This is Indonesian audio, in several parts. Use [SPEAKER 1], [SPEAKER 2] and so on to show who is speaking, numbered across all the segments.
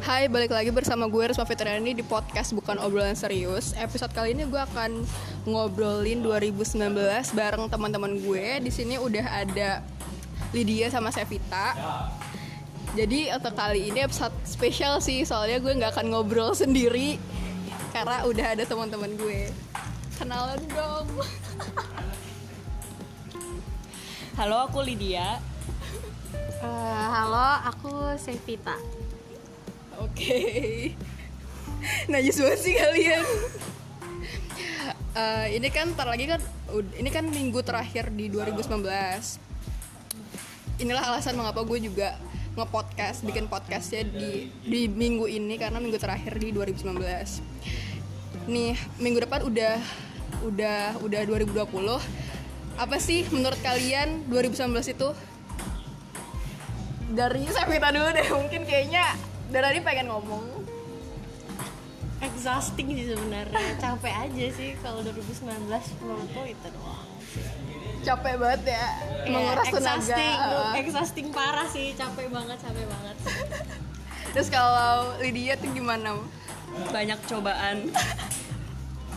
[SPEAKER 1] Hai, balik lagi bersama gue Risma Fitriani di podcast Bukan Obrolan Serius Episode kali ini gue akan ngobrolin 2019 bareng teman-teman gue Di sini udah ada Lydia sama Sevita Jadi untuk kali ini episode spesial sih Soalnya gue nggak akan ngobrol sendiri Karena udah ada teman-teman gue Kenalan dong
[SPEAKER 2] Halo, aku Lydia.
[SPEAKER 3] Eh, halo, aku Sevita.
[SPEAKER 1] Oke. Najis banget sih kalian. Eh, ini kan ntar lagi kan ud- ini kan minggu terakhir di 2019. Inilah alasan mengapa gue juga nge-podcast, bikin podcastnya di di minggu ini karena minggu terakhir di 2019. Nih, minggu depan udah udah udah 2020. Apa sih menurut kalian 2019 itu dari Sevita dulu deh mungkin kayaknya dari tadi pengen ngomong
[SPEAKER 2] Exhausting sih sebenarnya, capek aja sih kalau 2019 menurutku itu doang.
[SPEAKER 1] capek banget ya menguras
[SPEAKER 2] Iya,
[SPEAKER 1] tenaga eh.
[SPEAKER 2] exhausting,
[SPEAKER 1] Heeh.
[SPEAKER 2] exhausting parah sih, capek banget, capek banget.
[SPEAKER 1] terus kalau Lydia tuh gimana
[SPEAKER 4] banyak cobaan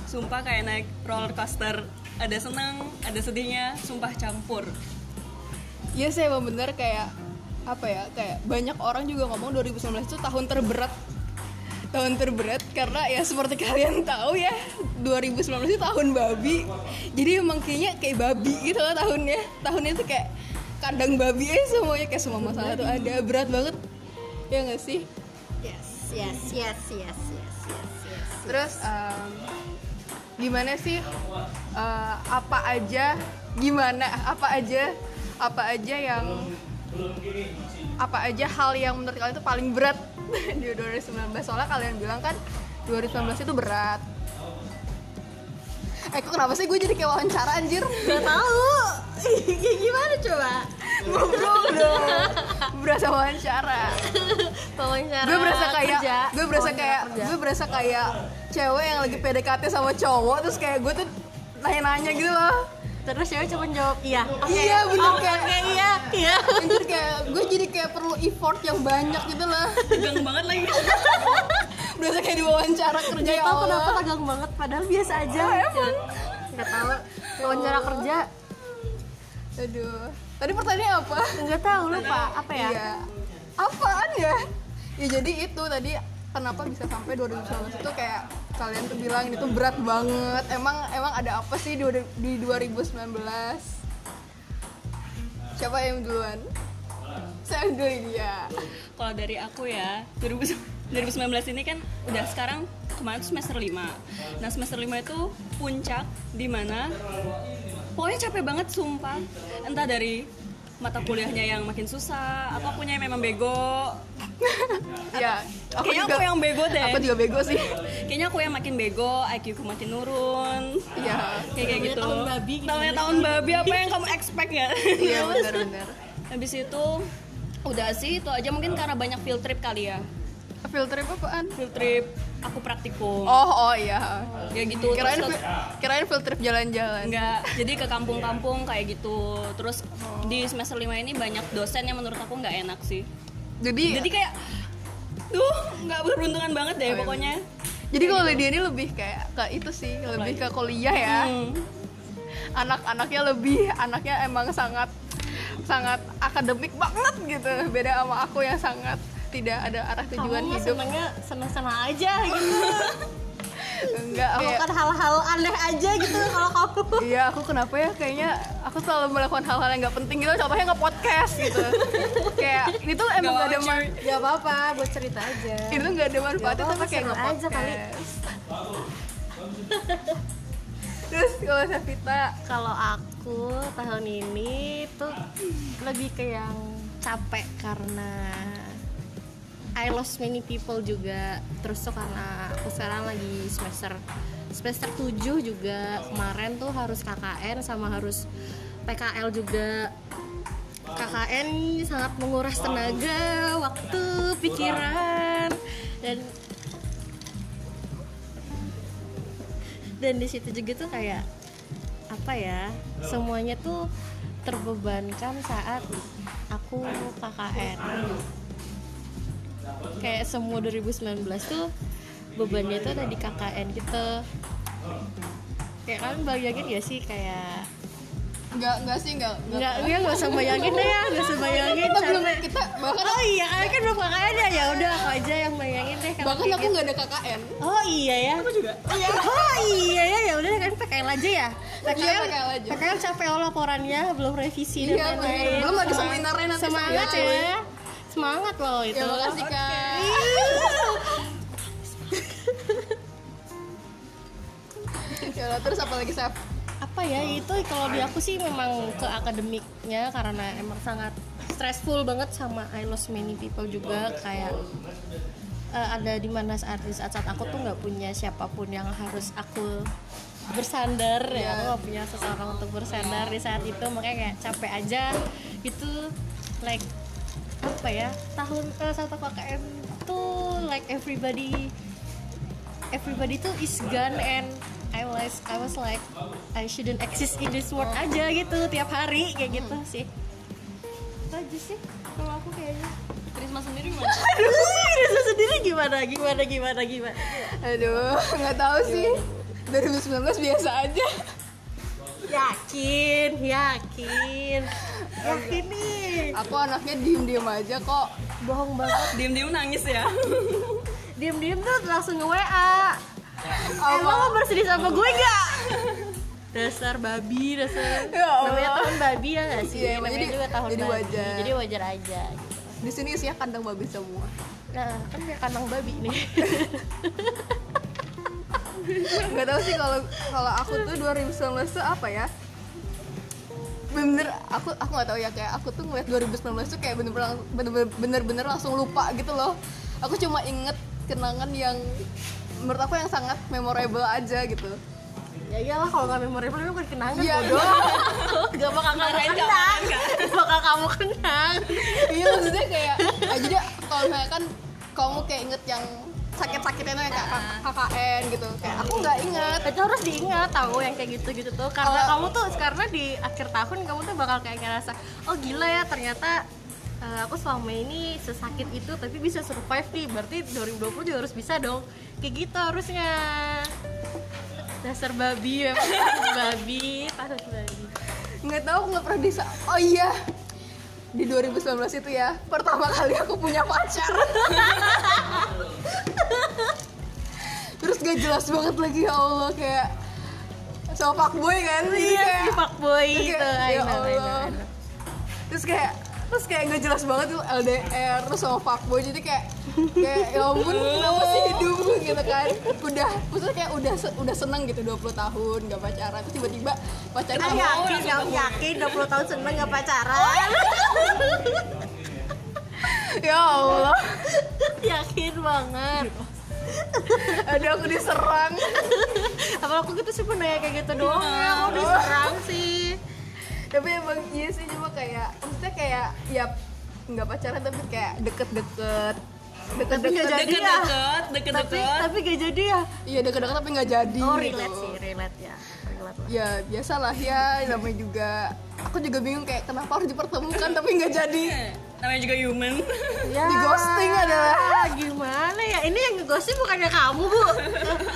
[SPEAKER 4] sumpah kayak naik roller coaster ada senang ada sedihnya sumpah campur
[SPEAKER 1] Iya saya emang bener kayak apa ya kayak banyak orang juga ngomong 2019 itu tahun terberat tahun terberat karena ya seperti kalian tahu ya 2019 itu tahun babi jadi emang kayaknya kayak babi gitu loh tahunnya tahunnya tuh kayak kandang babi aja semuanya kayak semua masalah tuh ada berat banget ya nggak sih
[SPEAKER 3] Yes, yes, yes, yes, yes, yes, yes.
[SPEAKER 1] Terus em, gimana sih eh, apa aja gimana apa aja apa aja yang apa aja hal yang menurut kalian itu paling berat di 2019 soalnya kalian bilang kan 2019 itu berat. Eh kok kenapa sih gue jadi kayak wawancara anjir?
[SPEAKER 2] Gak tahu, gimana coba?
[SPEAKER 1] Goblok dong. Berasa wawancara.
[SPEAKER 3] Wawancara
[SPEAKER 1] gue berasa kayak
[SPEAKER 3] kerja.
[SPEAKER 1] gue berasa
[SPEAKER 3] Wawancara
[SPEAKER 1] kayak
[SPEAKER 3] kerja.
[SPEAKER 1] gue berasa kayak cewek yang lagi PDKT sama cowok terus kayak gue tuh nanya-nanya gitu loh
[SPEAKER 3] Terus cewek cuma jawab iya.
[SPEAKER 1] iya bener
[SPEAKER 3] Oh,
[SPEAKER 1] kayak
[SPEAKER 3] oke, iya, iya.
[SPEAKER 1] anjir kayak gue jadi kayak perlu effort yang banyak gitu loh
[SPEAKER 4] tegang banget lagi
[SPEAKER 1] berasa kayak diwawancara kerja
[SPEAKER 3] Gak
[SPEAKER 1] ya
[SPEAKER 3] tau
[SPEAKER 1] Allah.
[SPEAKER 3] kenapa tegang banget, padahal biasa aja. Gak tau. Wawancara kerja,
[SPEAKER 1] aduh tadi pertanyaannya apa
[SPEAKER 3] gak tau lupa apa ya?
[SPEAKER 1] iya apaan ya ya jadi itu tadi kenapa bisa sampai 2019 itu kayak kalian tuh bilang itu berat banget emang emang ada apa sih di, di 2019 siapa yang duluan saya dulu ya. dia
[SPEAKER 4] kalau dari aku ya 2000 2019 ini kan udah sekarang kemarin tuh semester 5 nah semester 5 itu puncak dimana pokoknya capek banget sumpah entah dari mata kuliahnya yang makin susah atau punya yang memang bego
[SPEAKER 1] ya aku
[SPEAKER 4] kayaknya
[SPEAKER 1] juga
[SPEAKER 4] aku yang bego deh
[SPEAKER 1] aku juga bego sih
[SPEAKER 4] kayaknya aku yang makin bego IQ ku makin nurun
[SPEAKER 1] iya
[SPEAKER 4] kayak kayak gitu
[SPEAKER 2] tahun babi gitu.
[SPEAKER 4] tahunnya tahun babi apa yang kamu expect ya
[SPEAKER 1] iya benar-benar
[SPEAKER 4] habis itu udah sih itu aja mungkin karena banyak field trip kali ya
[SPEAKER 1] field trip apaan
[SPEAKER 4] field trip aku praktikum
[SPEAKER 1] oh oh iya
[SPEAKER 4] ya gitu
[SPEAKER 1] kirain
[SPEAKER 4] terus
[SPEAKER 1] fi- kirain field trip jalan-jalan
[SPEAKER 4] enggak jadi ke kampung-kampung kayak gitu terus di semester 5 ini banyak dosen yang menurut aku nggak enak sih
[SPEAKER 1] jadi
[SPEAKER 4] jadi kayak duh nggak beruntungan banget deh pokoknya
[SPEAKER 1] Jadi kalau Lydia ini lebih kayak ke itu sih, lebih ke kuliah ya.
[SPEAKER 4] Hmm.
[SPEAKER 1] Anak-anaknya lebih, anaknya emang sangat sangat akademik banget gitu. Beda sama aku yang sangat tidak ada arah
[SPEAKER 3] Kamu
[SPEAKER 1] tujuan
[SPEAKER 3] mah
[SPEAKER 1] hidup.
[SPEAKER 3] senengnya seneng-seneng aja gitu.
[SPEAKER 1] Enggak kayak
[SPEAKER 2] kan-
[SPEAKER 3] Melakukan hal-hal aneh aja gitu kalau kamu.
[SPEAKER 1] Iya, aku kenapa ya kayaknya aku selalu melakukan hal-hal yang nggak penting gitu. Contohnya nge-podcast gitu. kayak ini tuh emang gak ada man-
[SPEAKER 3] Gak apa-apa, buat cerita aja.
[SPEAKER 1] ini tuh nggak ada manfaatnya
[SPEAKER 3] apa-apa,
[SPEAKER 1] tapi kayak
[SPEAKER 3] seru aja
[SPEAKER 1] nge-podcast.
[SPEAKER 3] kali.
[SPEAKER 1] Terus kalau Savita
[SPEAKER 3] Kalau aku tahun ini tuh lebih ke yang capek karena I lost many people juga terus tuh karena aku sekarang lagi semester semester 7 juga kemarin tuh harus KKN sama harus PKL juga KKN sangat menguras tenaga, waktu, pikiran dan dan di situ juga tuh kayak apa ya semuanya tuh terbebankan saat aku KKN
[SPEAKER 2] kayak semua 2019 tuh bebannya tuh ada di KKN gitu kayak kalian bayangin gak sih kayak
[SPEAKER 1] Enggak, enggak sih, enggak.
[SPEAKER 2] nggak nggak nggak usah bayangin deh ya nggak usah bayangin
[SPEAKER 1] Kita belum
[SPEAKER 2] capek.
[SPEAKER 1] kita bahkan
[SPEAKER 2] oh iya kalian kan belum KKN ya ya udah aku aja yang bayangin deh kalau
[SPEAKER 1] bahkan
[SPEAKER 2] kayak
[SPEAKER 1] aku
[SPEAKER 2] gitu.
[SPEAKER 1] nggak ada KKN.
[SPEAKER 2] oh iya ya
[SPEAKER 1] juga.
[SPEAKER 2] oh iya ya ya udah kan PKL aja ya
[SPEAKER 1] Iya, PKL aja.
[SPEAKER 2] PKL capek oh laporannya belum revisi
[SPEAKER 1] Iya,
[SPEAKER 2] dan lain-lain
[SPEAKER 1] bener. Belum ada
[SPEAKER 2] Semang-
[SPEAKER 1] seminarnya nanti
[SPEAKER 2] semangat
[SPEAKER 1] seminarnya.
[SPEAKER 2] ya semangat loh itu
[SPEAKER 1] Ya makasih Kak. Ya lah, terus apa lagi, Sap?
[SPEAKER 2] apa ya itu kalau di aku sih memang ke akademiknya karena emang sangat stressful banget sama I lost many people juga kayak eh, ada di mana artis saat aku tuh nggak punya siapapun yang harus aku bersandar ya aku nggak punya seseorang untuk bersandar di saat itu makanya kayak capek aja itu like apa ya tahun eh, satu KKM tuh like everybody everybody tuh is gone and I was I was like I shouldn't exist in this world aja gitu tiap hari kayak gitu sih itu aja sih kalau aku kayaknya
[SPEAKER 4] Trisma sendiri gimana?
[SPEAKER 2] aduh Risa sendiri gimana gimana gimana gimana
[SPEAKER 1] Aduh, nggak tahu sih.
[SPEAKER 2] Iya.
[SPEAKER 1] 2019 biasa aja.
[SPEAKER 2] yakin yakin yakin nih
[SPEAKER 1] Aku anaknya diem-diem aja kok.
[SPEAKER 2] bohong banget
[SPEAKER 4] Diem-diem nangis ya.
[SPEAKER 2] diem diem tuh langsung nge WA Eh, lo
[SPEAKER 1] Apa?
[SPEAKER 2] mau bersedih sama gue gak? dasar babi, dasar
[SPEAKER 1] Ya Allah.
[SPEAKER 2] namanya tahun babi ya gak sih?
[SPEAKER 1] Iya,
[SPEAKER 2] namanya
[SPEAKER 1] jadi-
[SPEAKER 2] juga tahun
[SPEAKER 1] jadi
[SPEAKER 2] babi,
[SPEAKER 1] wajar.
[SPEAKER 2] jadi wajar aja. gitu.
[SPEAKER 1] Di sini isinya kandang babi semua.
[SPEAKER 2] Nah, kan kayak kandang babi nih.
[SPEAKER 1] nggak tahu sih kalau kalau aku tuh 2019 tuh apa ya bener aku aku nggak tahu ya kayak aku tuh ngeliat 2019 tuh kayak bener-bener lang- bener-bener bener-bener langsung lupa gitu loh aku cuma inget kenangan yang menurut aku yang sangat memorable aja gitu
[SPEAKER 2] ya iyalah kalau gak memorable itu bukan kenangan
[SPEAKER 1] Iya.
[SPEAKER 2] bodoh. gak bakal kamu
[SPEAKER 4] Kemarin
[SPEAKER 2] kenang. bakal kamu kenang.
[SPEAKER 1] iya maksudnya kayak ah, jadi kalau misalnya kan kamu kayak inget yang sakit-sakitnya tuh yang kayak K- KKN gitu kayak aku nggak inget
[SPEAKER 2] Itu harus diingat tahu yang kayak gitu-gitu tuh karena
[SPEAKER 1] Kalau-
[SPEAKER 2] kamu tuh karena di akhir tahun kamu tuh bakal kayak ngerasa oh gila ya ternyata eh, aku selama ini sesakit itu tapi bisa survive nih berarti 2020 juga harus bisa dong kayak gitu harusnya dasar babi ya babi tahun babi
[SPEAKER 1] nggak tahu aku nggak pernah bisa oh iya di 2019 itu ya pertama kali aku punya pacar terus gak jelas banget lagi ya Allah kayak sama fuckboy kan sih
[SPEAKER 2] iya si fuckboy
[SPEAKER 1] terus
[SPEAKER 2] itu
[SPEAKER 1] kayak,
[SPEAKER 2] I
[SPEAKER 1] ya
[SPEAKER 2] know, I know, I
[SPEAKER 1] Allah.
[SPEAKER 2] know.
[SPEAKER 1] terus kayak terus kayak gak jelas banget tuh LDR terus sama fuckboy jadi kayak kayak ya ampun kenapa sih hidup gitu kan udah maksudnya kayak udah se- udah seneng gitu 20 tahun gak pacaran terus tiba-tiba pacaran
[SPEAKER 2] Kamu
[SPEAKER 1] sama
[SPEAKER 2] yakin, kamu yakin 20 tahun seneng gak pacaran?
[SPEAKER 1] ya Allah
[SPEAKER 2] yakin banget
[SPEAKER 1] aduh aku diserang
[SPEAKER 2] Apa aku gitu sih pernah ya kayak gitu doang ya, aku diserang sih
[SPEAKER 1] tapi emang iya sih cuma kayak maksudnya kayak ya nggak pacaran tapi kayak deket-deket deket-deket
[SPEAKER 2] nggak jadi. ya.
[SPEAKER 4] Deket-deket,
[SPEAKER 2] Tapi,
[SPEAKER 4] deket-deket.
[SPEAKER 2] tapi gak jadi ya
[SPEAKER 1] iya deket-deket tapi nggak jadi
[SPEAKER 2] Oh
[SPEAKER 1] gitu.
[SPEAKER 2] relate sih, relate ya relate lah.
[SPEAKER 1] ya biasalah ya namanya juga aku juga bingung kayak kenapa harus dipertemukan tapi nggak jadi
[SPEAKER 4] Namanya juga human.
[SPEAKER 2] Ya.
[SPEAKER 1] Di ghosting adalah.
[SPEAKER 2] Gimana ya, ini yang ngeghosting bukannya kamu bu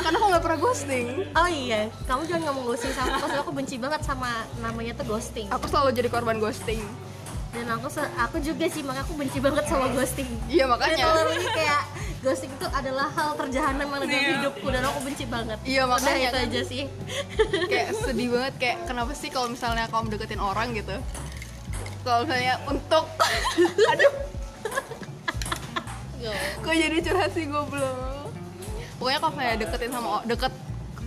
[SPEAKER 1] karena aku nggak pernah ghosting
[SPEAKER 2] Oh iya, kamu jangan ngomong ghosting sama aku, soalnya aku benci banget sama namanya tuh ghosting
[SPEAKER 1] aku selalu jadi korban ghosting
[SPEAKER 2] Dan aku se- aku juga sih, makanya aku benci banget sama ghosting
[SPEAKER 1] iya
[SPEAKER 2] Makanya
[SPEAKER 1] makanya
[SPEAKER 2] kalau ini kayak ghosting itu adalah hal terjahanam yang ada dalam
[SPEAKER 4] Iya.
[SPEAKER 2] hidupku dan aku benci banget.
[SPEAKER 1] Iya, makanya
[SPEAKER 2] Udah, itu
[SPEAKER 1] kan.
[SPEAKER 2] aja sih.
[SPEAKER 1] kayak sedih banget kayak kenapa sih kalau misalnya kamu deketin orang gitu kalau misalnya untuk aduh kok jadi curhat sih goblok pokoknya kalau misalnya deketin sama o- deket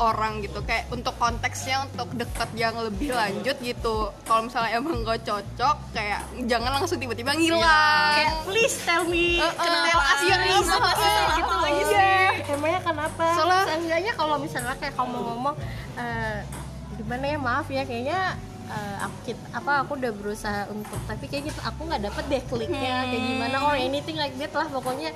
[SPEAKER 1] orang gitu kayak untuk konteksnya untuk deket yang lebih lanjut gitu kalau misalnya emang gak cocok kayak jangan langsung tiba-tiba
[SPEAKER 2] Kayak
[SPEAKER 1] ngilang
[SPEAKER 4] Iya.
[SPEAKER 2] please tell
[SPEAKER 1] Eh,
[SPEAKER 2] me.
[SPEAKER 1] eh, tell us your reason. Eh, gitu lagi sih.
[SPEAKER 2] Emangnya kenapa?
[SPEAKER 1] Soalnya-
[SPEAKER 2] Seenggaknya kalau misalnya kayak kamu ngomong eh, gimana ya maaf ya kayaknya eh, aku kit- apa aku udah berusaha untuk tapi kayak gitu aku nggak dapet deh kliknya kayak
[SPEAKER 1] Hmm.
[SPEAKER 2] gimana or anything like that lah pokoknya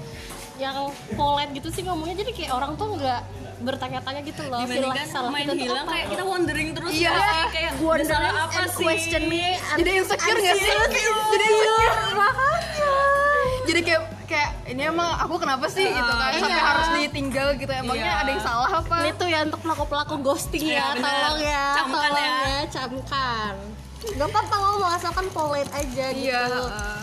[SPEAKER 2] yang polite gitu sih ngomongnya jadi kayak orang tuh nggak bertanya-tanya gitu loh
[SPEAKER 4] Dibandingkan
[SPEAKER 2] salah
[SPEAKER 4] main
[SPEAKER 2] kita tuh apa.
[SPEAKER 4] hilang
[SPEAKER 1] ya?
[SPEAKER 4] kayak kita wondering terus
[SPEAKER 1] Iya.
[SPEAKER 4] nggak sih? kayak udah salah apa
[SPEAKER 2] and
[SPEAKER 4] sih?
[SPEAKER 2] question me
[SPEAKER 1] jadi insecure nggak sih jadi insecure jadi kayak kayak kayak ini emang aku kenapa sih gitu kan
[SPEAKER 4] Ah,
[SPEAKER 1] sampai
[SPEAKER 4] iya.
[SPEAKER 1] harus ditinggal gitu emangnya
[SPEAKER 4] Iya.
[SPEAKER 1] ada yang salah apa
[SPEAKER 2] Ini tuh ya untuk pelaku-pelaku ghosting
[SPEAKER 4] Iya,
[SPEAKER 2] ya,
[SPEAKER 4] bener.
[SPEAKER 2] tolong ya,
[SPEAKER 4] Camkan
[SPEAKER 2] tolong
[SPEAKER 4] ya.
[SPEAKER 2] ya, camkan. Gak apa-apa ngomong asalkan polite aja gitu.
[SPEAKER 1] iya heeh.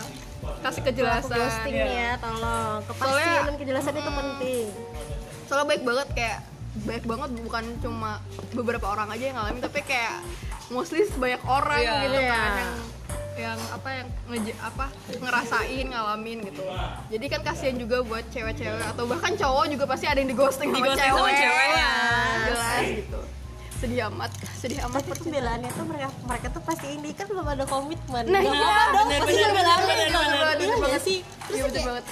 [SPEAKER 1] kasih
[SPEAKER 2] Pelaku
[SPEAKER 1] kejelasan
[SPEAKER 2] ghosting ya, tolong. Kepastian
[SPEAKER 1] Soalnya-
[SPEAKER 2] dan kejelasan itu penting.
[SPEAKER 1] soalnya baik banget kayak baik banget bukan cuma beberapa orang aja yang ngalamin tapi kayak mostly banyak orang
[SPEAKER 4] Iya.
[SPEAKER 1] gitu kan
[SPEAKER 2] Iya.
[SPEAKER 1] yang yang apa yang ngeje, apa ngerasain ngalamin gitu jadi kan kasihan juga buat cewek-cewek atau bahkan cowok juga pasti ada yang di ghosting sama
[SPEAKER 4] Dighosting
[SPEAKER 1] cewek, Iya,
[SPEAKER 4] sama cewek, ya.
[SPEAKER 1] jelas gitu sedih amat sedih amat
[SPEAKER 2] Tapi pembelaannya tuh mereka mereka tuh pasti ini kan belum ada komitmen.
[SPEAKER 1] Nah,
[SPEAKER 2] Gak
[SPEAKER 1] iya,
[SPEAKER 2] apa-apa dong,
[SPEAKER 4] bener,
[SPEAKER 2] pasti belum
[SPEAKER 4] bener,
[SPEAKER 2] ada
[SPEAKER 4] bener,
[SPEAKER 2] komitmen.
[SPEAKER 4] bener,
[SPEAKER 1] bener,
[SPEAKER 2] Iya
[SPEAKER 1] bener
[SPEAKER 2] nggak
[SPEAKER 1] banget.
[SPEAKER 2] sih? Terus
[SPEAKER 1] Iya, betul
[SPEAKER 2] kayak,
[SPEAKER 1] banget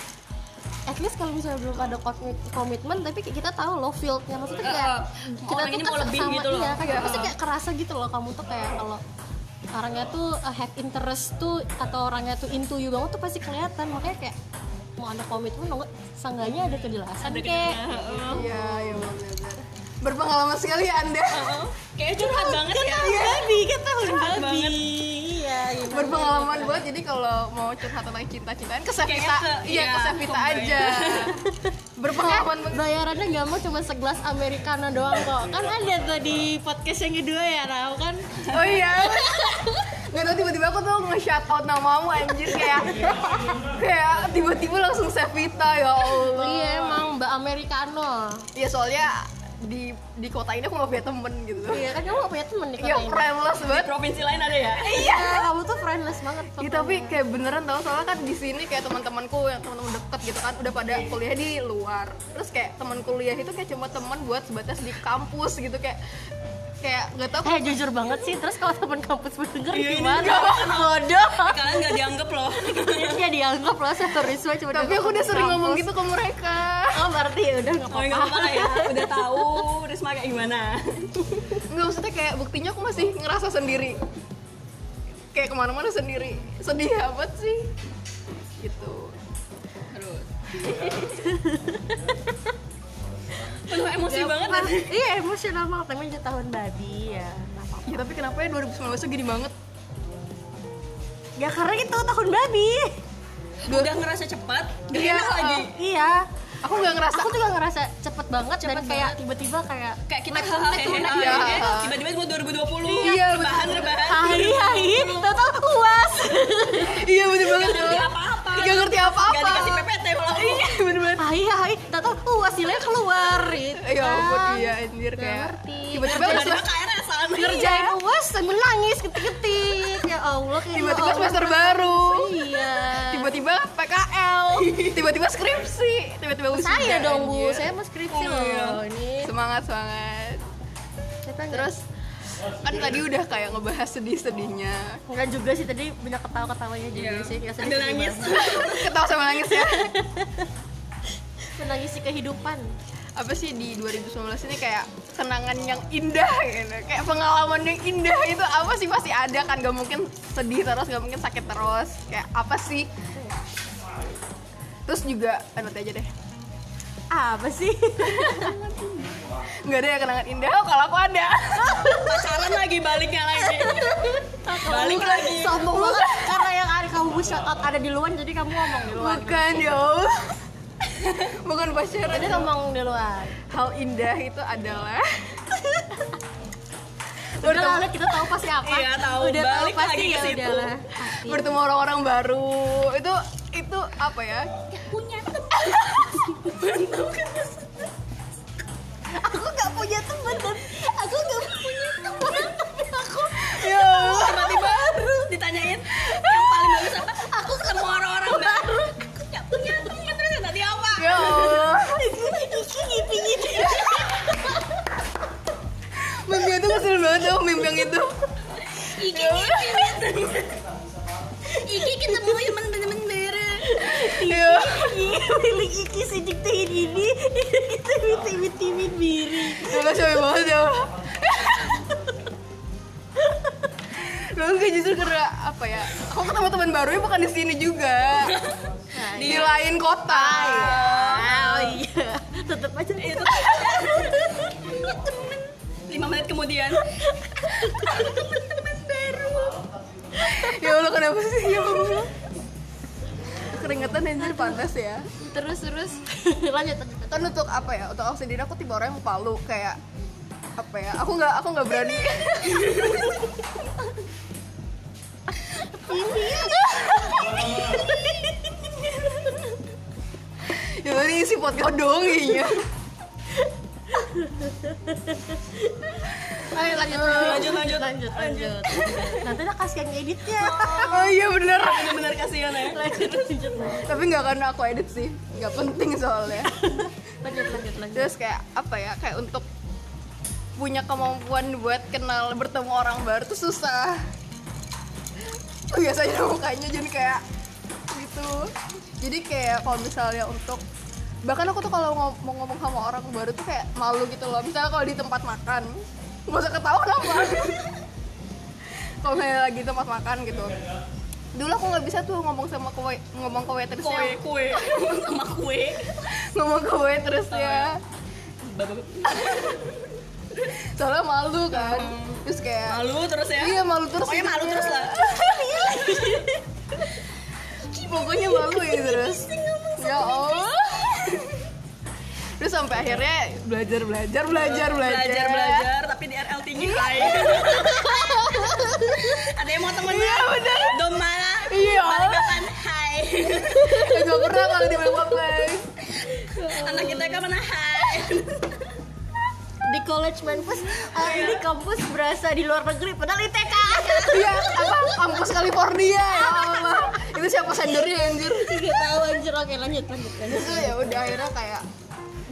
[SPEAKER 2] at least kalau misalnya belum ada komit- komitmen tapi kayak kita tahu low fieldnya maksudnya kayak
[SPEAKER 4] Heeh.
[SPEAKER 2] kita
[SPEAKER 4] Orang
[SPEAKER 2] tuh
[SPEAKER 4] ini
[SPEAKER 2] kan
[SPEAKER 4] mau lebih
[SPEAKER 2] sama
[SPEAKER 4] gitu loh.
[SPEAKER 2] iya kan
[SPEAKER 1] Iya.
[SPEAKER 2] pasti kayak kerasa gitu loh kamu tuh kayak kalau orangnya tuh uh, have interest tuh atau orangnya tuh into you banget tuh pasti kelihatan makanya kayak mau ada komitmen dong sangganya ada kejelasan
[SPEAKER 4] Ada
[SPEAKER 2] kayak
[SPEAKER 4] kena, heeh.
[SPEAKER 1] iya iya benar-benar berpengalaman sekali ya, anda
[SPEAKER 4] Heeh. Kayak curhat banget
[SPEAKER 2] Iya,
[SPEAKER 4] ya.
[SPEAKER 2] babi kita
[SPEAKER 4] Curhat banget.
[SPEAKER 2] kan iya gitu.
[SPEAKER 1] berpengalaman buat jadi kalau mau curhat tentang cinta-cintaan ke
[SPEAKER 4] Kayaknya
[SPEAKER 1] Sevita
[SPEAKER 4] ke-
[SPEAKER 1] iya
[SPEAKER 4] iya,
[SPEAKER 1] ke Sevita
[SPEAKER 4] combine.
[SPEAKER 1] aja berpengalaman banget
[SPEAKER 2] bayarannya nggak mau cuma segelas americano doang kok kan ada tuh di podcast yang kedua ya tahu kan
[SPEAKER 1] Oh iya. Gak tau tiba-tiba aku tuh nge-shout out namamu anjir kayak kayak tiba-tiba langsung Sevita ya Allah.
[SPEAKER 2] iya emang mbak americano
[SPEAKER 1] Iya soalnya di di kota ini aku gak punya temen gitu.
[SPEAKER 2] Iya kan kamu gak punya temen di kota
[SPEAKER 1] Iya
[SPEAKER 2] ini.
[SPEAKER 1] friendless
[SPEAKER 4] Di
[SPEAKER 1] banget.
[SPEAKER 4] provinsi lain ada ya?
[SPEAKER 2] Iya. kamu tuh friendless banget.
[SPEAKER 1] Iya tapi kayak beneran tau soalnya kan di sini kayak teman-temanku yang teman-teman deket gitu kan udah pada kuliah di luar. Terus kayak teman kuliah itu kayak cuma teman buat sebatas di kampus gitu kayak kayak gak tau
[SPEAKER 2] Eh jujur banget sih, terus kalau teman kampus mendengar
[SPEAKER 4] Iya, ini
[SPEAKER 2] gimana? Bodoh.
[SPEAKER 4] Kalian nggak dianggap loh.
[SPEAKER 2] Ya dianggap lah terorisme cuma
[SPEAKER 1] tapi
[SPEAKER 2] dianggap
[SPEAKER 1] aku udah
[SPEAKER 2] teman
[SPEAKER 1] sering ngomong
[SPEAKER 2] kampus.
[SPEAKER 1] gitu ke mereka.
[SPEAKER 2] Oh berarti ya udah nggak
[SPEAKER 4] Oh nggak
[SPEAKER 2] apa-apa.
[SPEAKER 4] apa-apa lah ya. Udah tahu Risma kayak gimana.
[SPEAKER 1] Enggak maksudnya kayak buktinya aku masih ngerasa sendiri Kayak kemana-mana sendiri Sedih amat sih Gitu
[SPEAKER 4] Terus. Penuh emosi banget
[SPEAKER 2] Ah,
[SPEAKER 4] tadi.
[SPEAKER 2] Iya emosional banget, tapi aja tahun babi ya. nggak apa-apa.
[SPEAKER 1] Ya tapi kenapa ya 2019 tuh gini banget
[SPEAKER 2] Ya karena itu tahun babi.
[SPEAKER 4] Udah ngerasa cepat, gak
[SPEAKER 1] Iya,
[SPEAKER 4] enak
[SPEAKER 1] eh.
[SPEAKER 4] lagi.
[SPEAKER 2] Iya.
[SPEAKER 1] Aku gak ngerasa
[SPEAKER 2] Aku juga ngerasa cepet banget dan kayak tiba-tiba kayak
[SPEAKER 4] Kayak kita hahaha,
[SPEAKER 1] iya.
[SPEAKER 4] ya. tiba-tiba itu 2020,
[SPEAKER 1] Iya,
[SPEAKER 4] rebahan, rebahan.
[SPEAKER 2] Hai hai, total puas.
[SPEAKER 1] Iya bener
[SPEAKER 4] Gak
[SPEAKER 1] banget
[SPEAKER 4] ngerti apa-apa.
[SPEAKER 1] Gak ngerti apa-apa
[SPEAKER 4] Gak dikasih PPT malah. Iya.
[SPEAKER 1] bener banget
[SPEAKER 2] Hai hai, total puas nilai keluar gitu.
[SPEAKER 1] Ya ampun
[SPEAKER 2] kan.
[SPEAKER 1] iya anjir kayak
[SPEAKER 2] ngerti.
[SPEAKER 1] Tiba-tiba
[SPEAKER 4] Tiba-tiba
[SPEAKER 1] semester-
[SPEAKER 4] KRS sama
[SPEAKER 2] ngerjain uas sambil nangis ketik-ketik ya Allah kayak
[SPEAKER 1] Tiba-tiba
[SPEAKER 2] ya Allah.
[SPEAKER 1] semester baru
[SPEAKER 2] iya
[SPEAKER 1] Tiba-tiba PKL Tiba-tiba skripsi Tiba-tiba ujian
[SPEAKER 2] saya dong bu
[SPEAKER 1] anjir.
[SPEAKER 2] saya mau skripsi
[SPEAKER 4] Oh, iya.
[SPEAKER 2] loh ini
[SPEAKER 1] Semangat-semangat
[SPEAKER 2] Kita nggak-
[SPEAKER 1] Terus kan tadi udah kayak ngebahas sedih-sedihnya.
[SPEAKER 2] nggak juga sih tadi banyak ketawa-ketawanya juga sih ya sedih
[SPEAKER 4] Sambil nangis.
[SPEAKER 1] Ketawa sama nangis ya.
[SPEAKER 2] menangisi kehidupan
[SPEAKER 1] Apa sih di 2019 ini kayak kenangan yang indah gitu. Kayak pengalaman yang indah itu apa sih pasti ada kan gak mungkin sedih terus, gak mungkin sakit terus. Kayak apa sih? Terus juga ah, nanti aja deh.
[SPEAKER 2] apa sih
[SPEAKER 1] Gak ada ya kenangan indah oh, kalau aku ada.
[SPEAKER 4] Pacaran lagi, baliknya lagi. Balik lagi.
[SPEAKER 2] sombong banget karena yang ada kamu shout out ada di luar jadi kamu ngomong di luar
[SPEAKER 1] Bukan ya Allah. Bukan pacaran.
[SPEAKER 2] jadi ngomong di luar
[SPEAKER 1] Hal indah itu adalah
[SPEAKER 2] udah lah kita tahu pasti apa
[SPEAKER 4] Iya, tahu.
[SPEAKER 2] udah
[SPEAKER 4] Balik
[SPEAKER 2] tahu pasti
[SPEAKER 4] lagi ke
[SPEAKER 2] ya
[SPEAKER 4] situ.
[SPEAKER 2] udah lah
[SPEAKER 1] bertemu orang-orang baru itu itu apa ya
[SPEAKER 2] aku nggak punya temen dan aku nggak punya temen tapi aku
[SPEAKER 1] ya Allah.
[SPEAKER 4] Tiba-tiba ditanyain yang paling bagus apa? Aku ketemu orang-orang baru. Aku nggak punya teman terus yang tadi apa?
[SPEAKER 1] ya Allah
[SPEAKER 2] iki iki iki
[SPEAKER 1] mimpi itu kesel banget tau mimpi yang itu
[SPEAKER 4] Iki iki Iki ketemu teman-teman baru.
[SPEAKER 1] ya
[SPEAKER 2] pilih iki sejak tahun ini kita miti miti miti biri
[SPEAKER 1] nggak capek banget ya Allah. Lalu kayak justru karena apa ya? Aku ketemu teman barunya bukan di sini juga, di lain kota. Nah.
[SPEAKER 2] oh iya tetap aja
[SPEAKER 4] Itu temen. Lima menit kemudian,
[SPEAKER 1] Ya Allah kenapa sih ya Allah? keringetan anjir panas ya
[SPEAKER 2] terus terus lanjut lanjut.
[SPEAKER 1] kan untuk apa ya untuk aku sendiri aku tipe orang yang palu kayak apa ya aku nggak aku nggak berani ya ini isi podcast dong ya
[SPEAKER 2] Ayo lanjut
[SPEAKER 1] Oh,
[SPEAKER 4] lanjut, lanjut.
[SPEAKER 2] lanjut lanjut. Nanti udah kasih yang editnya.
[SPEAKER 1] oh iya bener
[SPEAKER 4] benar-benar kasihan ya
[SPEAKER 2] Lanjut lanjut
[SPEAKER 1] tapi nggak karena aku edit sih nggak penting soalnya
[SPEAKER 2] lanjut lanjut lanjut.
[SPEAKER 1] terus kayak apa ya kayak untuk punya kemampuan buat kenal bertemu orang baru tuh susah biasanya mukanya jadi kayak gitu jadi kayak kalau misalnya untuk bahkan aku tuh kalau ngom- mau ngomong sama orang baru tuh kayak malu gitu loh misalnya kalau di tempat makan nggak usah ketawa apa kalau misalnya lagi di tempat makan gitu dulu aku nggak bisa tuh ngomong sama ke wai- ngomong ke waitressnya
[SPEAKER 4] kue kue sama kue
[SPEAKER 1] ngomong ke waitressnya
[SPEAKER 4] Babak-
[SPEAKER 1] soalnya malu kan terus kayak
[SPEAKER 4] malu terus ya
[SPEAKER 1] iya malu terus
[SPEAKER 4] pokoknya malu
[SPEAKER 1] hidupnya.
[SPEAKER 4] terus lah
[SPEAKER 1] pokoknya malu ya terus ya allah terus sampai akhirnya belajar belajar belajar belajar Iya.
[SPEAKER 4] belajar belajar tapi di RL tinggi hai ada yang mau temennya
[SPEAKER 1] Iya, bener.
[SPEAKER 4] dom malah
[SPEAKER 1] iya
[SPEAKER 4] balik kapan hai
[SPEAKER 1] nggak pernah kalau di Bangladesh
[SPEAKER 4] anak kita kapan hai
[SPEAKER 2] Di college manpus, eh, di kampus berasa di luar negeri padahal ITK.
[SPEAKER 1] iya apa kampus California ya allah itu siapa sendernya anjir
[SPEAKER 2] Gak tahu anjir oke lanjut lanjut lanjut.
[SPEAKER 1] terus tuh ya udah akhirnya kayak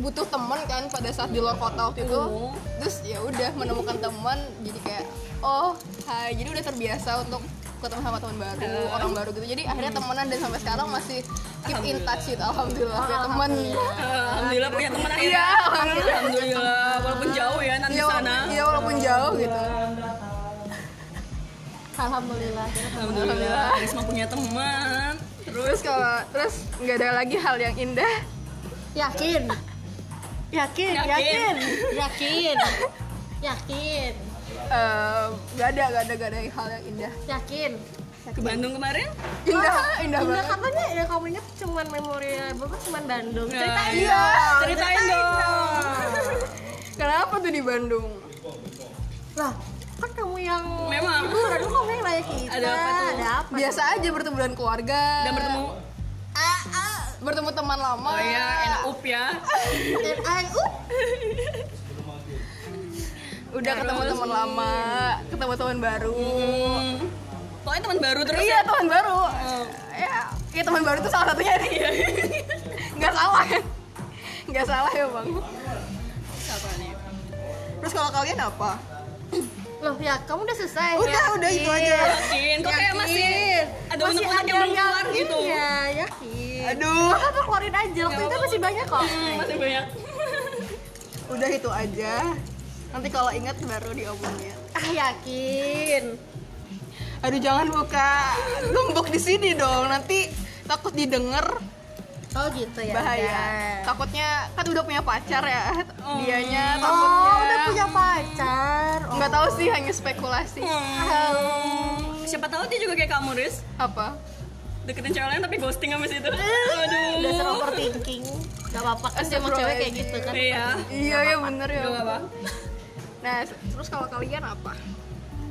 [SPEAKER 1] butuh teman kan pada saat di luar kota waktu itu
[SPEAKER 4] Oh.
[SPEAKER 1] terus ya udah menemukan teman jadi kayak oh hai jadi udah terbiasa untuk ketemu sama teman baru orang baru gitu jadi akhirnya temenan dan sampai sekarang masih keep in touch gitu alhamdulillah punya teman
[SPEAKER 4] alhamdulillah punya teman
[SPEAKER 1] iya
[SPEAKER 4] akhirnya alhamdulillah walaupun jauh ya nanti
[SPEAKER 1] iya
[SPEAKER 4] sana
[SPEAKER 1] walaupun, iya, walaupun jauh gitu
[SPEAKER 2] Alhamdulillah.
[SPEAKER 4] alhamdulillah Risma punya teman
[SPEAKER 1] terus kalau terus nggak ada lagi hal yang indah
[SPEAKER 2] Yakin. Yakin,
[SPEAKER 4] Yakin.
[SPEAKER 2] yakin, yakin, yakin,
[SPEAKER 1] Eh, nggak ada nggak ada nggak ada hal yang indah
[SPEAKER 2] yakin.
[SPEAKER 4] ke Bandung kemarin
[SPEAKER 1] indah indah,
[SPEAKER 2] Indah
[SPEAKER 1] banget
[SPEAKER 2] katanya ya kamu ingat cuman memorable tuh cuman Bandung.
[SPEAKER 4] Nah,
[SPEAKER 2] Ceritain
[SPEAKER 1] iya
[SPEAKER 4] ceritain dong
[SPEAKER 1] kenapa tuh di Bandung
[SPEAKER 2] Lah, kan kamu yang
[SPEAKER 4] Memang.
[SPEAKER 2] liburan, kok kamu yang nanya kita?
[SPEAKER 4] Ada apa tuh?
[SPEAKER 2] Ada apa?
[SPEAKER 1] biasa aja bertemu dengan keluarga
[SPEAKER 4] dan bertemu
[SPEAKER 2] Ah, ah,
[SPEAKER 1] bertemu teman lama
[SPEAKER 4] oh ya NUP ya
[SPEAKER 2] dan I, uh.
[SPEAKER 1] udah ketemu teman lama ketemu teman baru
[SPEAKER 4] hmm. pokoknya teman baru terus
[SPEAKER 1] iya teman baru
[SPEAKER 4] Hmm.
[SPEAKER 1] ya ya teman baru itu salah satunya nih nggak salah kan nggak salah ya bang
[SPEAKER 4] siapa nih
[SPEAKER 1] terus kalau kalian apa
[SPEAKER 2] Loh, ya kamu udah selesai. Ya, iya.
[SPEAKER 1] udah udah itu aja
[SPEAKER 4] yakin kok kayak masih ada
[SPEAKER 2] Masih
[SPEAKER 4] unek-unek yang belum keluar gitu
[SPEAKER 2] Iya, yakin.
[SPEAKER 1] aduh
[SPEAKER 2] Apa keluarin aja, waktu itu masih banyak kok.
[SPEAKER 4] Hmm, masih banyak
[SPEAKER 1] udah itu aja nanti kalau ingat baru diomongin
[SPEAKER 2] Ah, yakin.
[SPEAKER 1] aduh jangan buka gembok di sini dong nanti takut didengar
[SPEAKER 2] Oh gitu ya.
[SPEAKER 1] bahaya
[SPEAKER 2] udah.
[SPEAKER 1] takutnya kan udah punya pacar ya dianya takutnya
[SPEAKER 2] Oh, udah punya pacar. Oh.
[SPEAKER 1] nggak tahu sih hanya spekulasi
[SPEAKER 4] Hmm. Siapa tahu dia juga kayak kamu, Riz.
[SPEAKER 1] apa
[SPEAKER 4] Deketin cewek lain tapi ghosting abis itu. Aduh.
[SPEAKER 1] Iya.
[SPEAKER 2] Dasar overthinking. Gak apa-apa kan emang cewek kayak gitu kan.
[SPEAKER 4] Iya.
[SPEAKER 1] iya ya bener ya
[SPEAKER 4] Gak apa-apa.
[SPEAKER 1] nah se- terus kalau kalian apa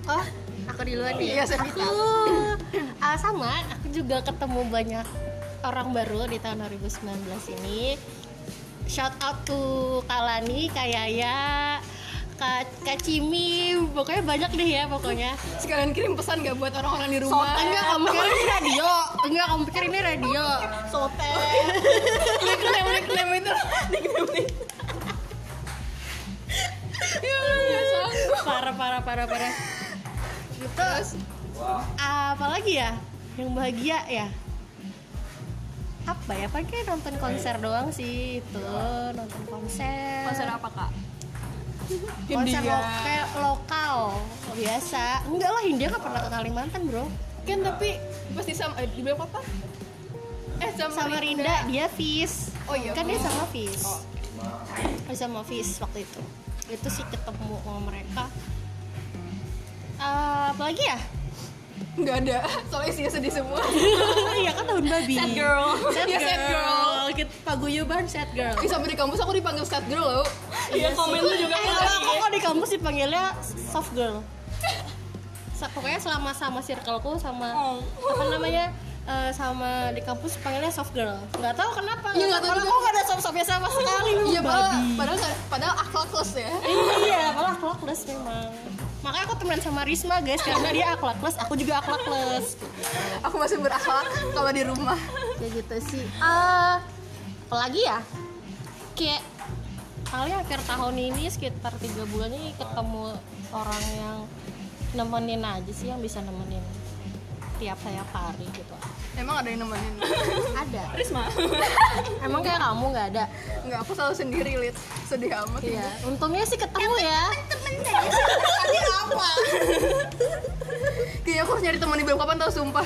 [SPEAKER 2] Oh, aku duluan nih.
[SPEAKER 1] Iya, Sevita.
[SPEAKER 2] Aku ah, sama, aku juga ketemu banyak orang baru di tahun 2019 ini. Shout out to Kalani, Kak Yaya, Kak, Kak Cimi, pokoknya banyak deh ya pokoknya.
[SPEAKER 1] sekalian kirim pesan gak buat orang-orang di rumah
[SPEAKER 2] enggak kamu pikir ini radio, enggak kamu pikir ini radio. Sote.
[SPEAKER 1] klaim klaim itu
[SPEAKER 2] Ya, parah parah parah parah.
[SPEAKER 1] terus
[SPEAKER 2] apalagi ya yang bahagia ya apa ya pakai nonton konser doang sih itu nonton Iya. konser
[SPEAKER 4] Konser apa, Kak?
[SPEAKER 2] konser
[SPEAKER 1] India.
[SPEAKER 2] lokal, lokal biasa enggak lah India kan pernah ke Kalimantan bro
[SPEAKER 1] kan tapi pasti sama eh, di belakang apa eh sama,
[SPEAKER 2] sama Rinda dia Fis
[SPEAKER 1] Oh iya.
[SPEAKER 2] kan dia sama Fis Dia sama Fis waktu itu itu sih ketemu sama mereka Eh, apalagi ya
[SPEAKER 1] nggak ada soalnya isinya sedih semua
[SPEAKER 2] Iya kan tahun babi.
[SPEAKER 4] Sad girl.
[SPEAKER 2] Sad
[SPEAKER 1] Iya,
[SPEAKER 2] girl.
[SPEAKER 1] sad girl.
[SPEAKER 2] Kita paguyuban sad girl.
[SPEAKER 1] Ih, sampai di kampus aku dipanggil skat girl loh
[SPEAKER 4] Iya komen lu juga
[SPEAKER 2] Eh, kalau aku kok di kampus dipanggilnya soft girl. Sa- pokoknya selama sama circleku sama
[SPEAKER 4] Oh.
[SPEAKER 2] apa namanya eh, sama di kampus panggilnya soft girl. Nggak tahu kenapa.
[SPEAKER 1] Iya, nggak tahu
[SPEAKER 2] Padahal
[SPEAKER 1] juga.
[SPEAKER 2] aku nggak ada soft softnya sama sekali.
[SPEAKER 1] Iya padahal
[SPEAKER 2] babi.
[SPEAKER 1] padahal padahal akhlakless ya.
[SPEAKER 2] iya, malah akhlakless memang. Makanya aku temenan sama Risma guys karena dia akhlakless, aku juga akhlakless.
[SPEAKER 1] Aku masih berakhlak kalau di rumah.
[SPEAKER 2] Kayak gitu sih. Eh, apalagi ya? Kayak paling akhir tahun ini sekitar tiga bulan ini ketemu orang yang nemenin aja sih yang bisa nemenin tiap tiap hari gitu
[SPEAKER 1] Emang ada yang nemenin?
[SPEAKER 2] ada
[SPEAKER 4] Risma.
[SPEAKER 2] emang kayak kamu nggak ada
[SPEAKER 1] Enggak, aku selalu sendiri lid. Sedih amat.
[SPEAKER 2] iya untungnya sih ketemu ya
[SPEAKER 1] Ini apa? Kayaknya aku harus nyari teman di belakang kapan tau sumpah.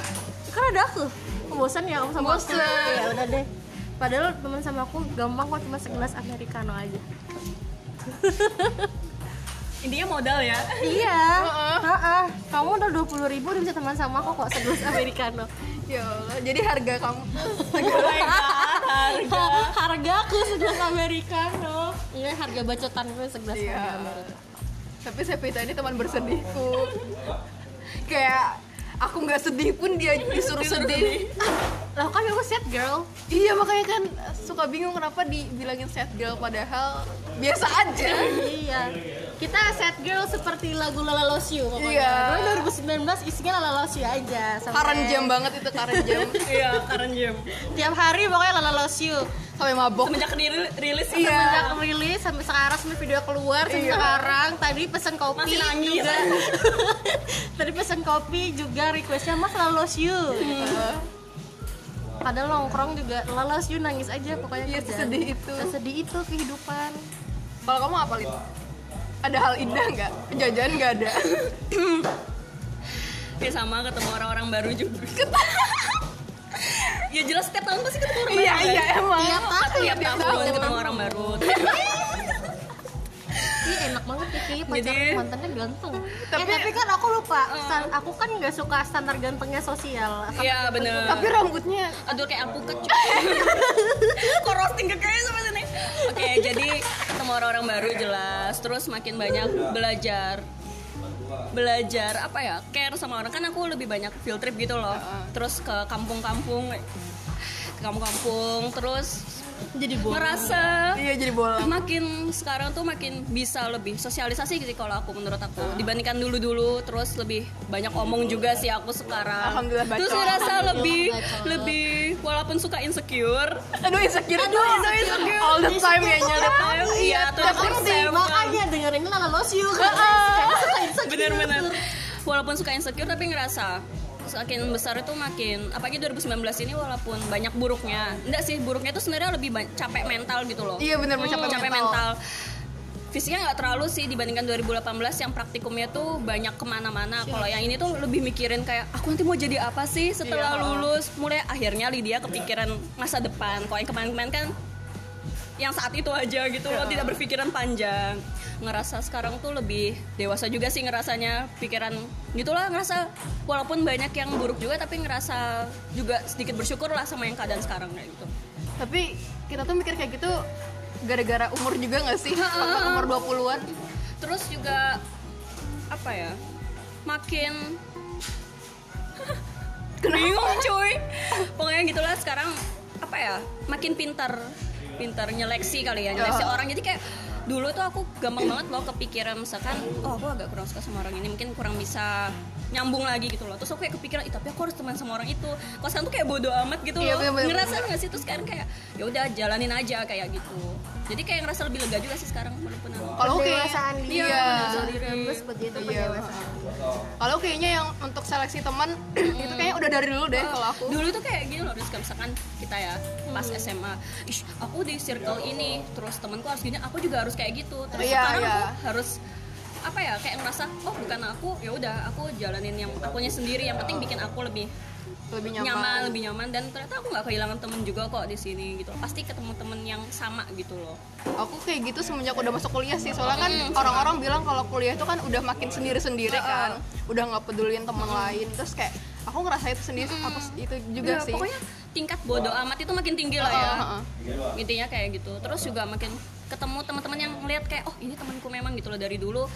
[SPEAKER 2] kan ada aku bosan ya kamu sama
[SPEAKER 1] Bosan.
[SPEAKER 2] aku ya udah deh padahal teman sama aku gampang kok cuma segelas americano aja
[SPEAKER 4] Intinya modal ya.
[SPEAKER 2] iya Heeh. kamu udah dua puluh ribu udah bisa teman sama aku kok segelas americano
[SPEAKER 1] Ya Allah, jadi harga kamu
[SPEAKER 4] Oh my God, harga.
[SPEAKER 2] Iya. harga aku segelas americano iya harga bacotan gue segelas
[SPEAKER 1] Iya.
[SPEAKER 2] harga americano
[SPEAKER 1] Tapi Sepita ini teman bersedihku. Kayak aku nggak sedih pun dia disuruh sedih.
[SPEAKER 2] lah kan aku sad girl
[SPEAKER 1] Iya makanya kan suka bingung kenapa dibilangin sad girl padahal biasa aja.
[SPEAKER 2] iya kita sad girl seperti lagu Lala Loves You
[SPEAKER 1] Iya.
[SPEAKER 2] pokoknya Dulu 2019 isinya Lala Loves You aja sampai
[SPEAKER 1] Karen jam banget itu karen jam
[SPEAKER 4] Iya, Karen Jim.
[SPEAKER 2] tiap hari pokoknya Lala Loves You
[SPEAKER 1] sampai mabok.
[SPEAKER 4] Semenjak diri- rilis
[SPEAKER 1] Iya.
[SPEAKER 2] sejak rilis sampai sekarang sampai video keluar sampai
[SPEAKER 1] Iya.
[SPEAKER 2] sekarang tadi pesan kopi
[SPEAKER 4] Masih nangis.
[SPEAKER 2] juga tadi pesan kopi juga requestnya mas lalos you padahal nongkrong juga lalos you nangis aja pokoknya
[SPEAKER 1] Iya,
[SPEAKER 2] kerja.
[SPEAKER 1] sesedih itu.
[SPEAKER 2] sesedih itu kehidupan
[SPEAKER 1] Kalau kamu apa, Lid? Ada hal indah nggak? Jajan nggak ada.
[SPEAKER 4] Ya sama ketemu orang-orang baru juga. ya jelas setiap tahun pasti ketemu orang
[SPEAKER 1] iya,
[SPEAKER 4] baru. kan?
[SPEAKER 1] iya, emang.
[SPEAKER 2] tiap tahun
[SPEAKER 4] Tiap
[SPEAKER 2] tiap
[SPEAKER 4] tahun
[SPEAKER 2] tahun.
[SPEAKER 4] ketemu orang baru.
[SPEAKER 2] Ih, enak banget ya kayaknya pacar
[SPEAKER 4] Jadi-
[SPEAKER 2] mantannya ganteng tapi,
[SPEAKER 1] Tapi-
[SPEAKER 2] tapi kan aku lupa
[SPEAKER 4] Hmm.
[SPEAKER 2] stan- aku kan nggak suka standar gantengnya sosial
[SPEAKER 4] Iya, bener.
[SPEAKER 1] Tapi rambutnya
[SPEAKER 4] Aduh kayak aku kecut. Kok roasting ke kayak sama sini. Oke, jadi ketemu orang-orang baru jelas, terus makin banyak belajar belajar apa ya care sama orang kan aku lebih banyak field trip gitu loh terus ke kampung-kampung ke kampung-kampung terus
[SPEAKER 2] jadi
[SPEAKER 4] ngerasa
[SPEAKER 1] iya jadi bola.
[SPEAKER 4] makin sekarang tuh makin bisa lebih sosialisasi sih kalau aku menurut aku
[SPEAKER 1] Ah.
[SPEAKER 4] dibandingkan dulu dulu terus lebih banyak omong juga sih aku sekarang
[SPEAKER 1] Alhamdulillah bacot.
[SPEAKER 4] terus ngerasa lebih
[SPEAKER 2] bacot.
[SPEAKER 4] lebih walaupun suka insecure
[SPEAKER 1] Aduh insecure, aduh, aduh insecure. All the time ya nyelip.
[SPEAKER 4] Tapi iya terus
[SPEAKER 1] ya,
[SPEAKER 4] bersembang
[SPEAKER 2] makanya dengerin Lala Loves You gitu.
[SPEAKER 4] bener-bener walaupun suka insecure tapi ngerasa semakin besar itu makin apalagi 2019 ini walaupun banyak buruknya enggak sih buruknya itu sebenarnya lebih ba- capek mental gitu loh
[SPEAKER 1] Iya bener mencapai
[SPEAKER 4] capek
[SPEAKER 1] mental.
[SPEAKER 4] mental. Fisiknya nggak terlalu sih dibandingkan 2018 yang praktikumnya tuh banyak
[SPEAKER 1] Iya.
[SPEAKER 4] kemana-mana. Kalau yang ini tuh lebih mikirin kayak aku nanti mau jadi apa sih
[SPEAKER 1] Iya,
[SPEAKER 4] setelah lulus. Mulai akhirnya Lydia kepikiran masa depan. Kalau yang kemarin-kemarin kan yang saat itu aja gitu loh tidak berpikiran panjang ngerasa sekarang tuh lebih dewasa juga sih ngerasanya pikiran gitulah ngerasa walaupun banyak yang buruk juga tapi ngerasa juga sedikit bersyukur lah sama yang keadaan sekarang kayak gitu
[SPEAKER 1] Tapi kita tuh mikir kayak gitu gara-gara umur juga nggak sih? Waktu umur 20-an.
[SPEAKER 4] terus juga apa ya makin bingung cuy pokoknya gitulah sekarang apa ya makin pintar pintar nyeleksi kali ya nyeleksi orang jadi kayak dulu tuh aku gampang banget loh kepikiran misalkan oh aku agak kurang suka sama orang ini mungkin kurang bisa nyambung lagi gitu loh terus aku kayak kepikiran "Ih, tapi aku harus teman sama orang itu kalau sekarang tuh kayak bodo amat gitu
[SPEAKER 1] Iya,
[SPEAKER 4] loh
[SPEAKER 1] bener-bener.
[SPEAKER 4] ngerasa nggak sih terus sekarang kayak ya udah jalanin aja kayak gitu jadi kayak ngerasa lebih lega juga sih sekarang walaupun aku-
[SPEAKER 1] Kalau aku kayak-
[SPEAKER 2] Pendewasaan
[SPEAKER 1] Iya.
[SPEAKER 2] dia, Terus seperti itu
[SPEAKER 1] Iya.
[SPEAKER 2] pendewasaan
[SPEAKER 1] Kalau kayaknya yang untuk seleksi teman itu kayaknya udah dari dulu deh kalau aku. Hmm.
[SPEAKER 4] dulu tuh kayak gini loh Rizka misalkan kita ya pas SMA Ish, aku di circle ini terus temenku harus gini aku juga harus kayak gitu
[SPEAKER 1] Ya
[SPEAKER 4] terus
[SPEAKER 1] Iya,
[SPEAKER 4] sekarang
[SPEAKER 1] iya.
[SPEAKER 4] aku harus apa ya kayak ngerasa oh bukan aku ya udah aku jalanin yang akunya sendiri yang penting bikin aku lebih
[SPEAKER 1] lebih nyaman,
[SPEAKER 4] nyaman. lebih nyaman dan ternyata aku nggak kehilangan temen juga kok di sini gitu loh. pasti ketemu temen yang sama gitu loh
[SPEAKER 1] aku kayak gitu semenjak udah masuk kuliah sih soalnya kan orang-orang bilang kalau kuliah itu kan udah makin sendiri-sendiri kan udah nggak peduliin teman lain terus kayak aku ngerasa itu sendiri apa sih- itu juga
[SPEAKER 4] Ya,
[SPEAKER 1] sih
[SPEAKER 4] pokoknya tingkat bodoh amat itu makin tinggi lah ya intinya kayak gitu terus juga makin ketemu teman-teman yang ngeliat kayak oh ini temanku memang gitu loh dari dulu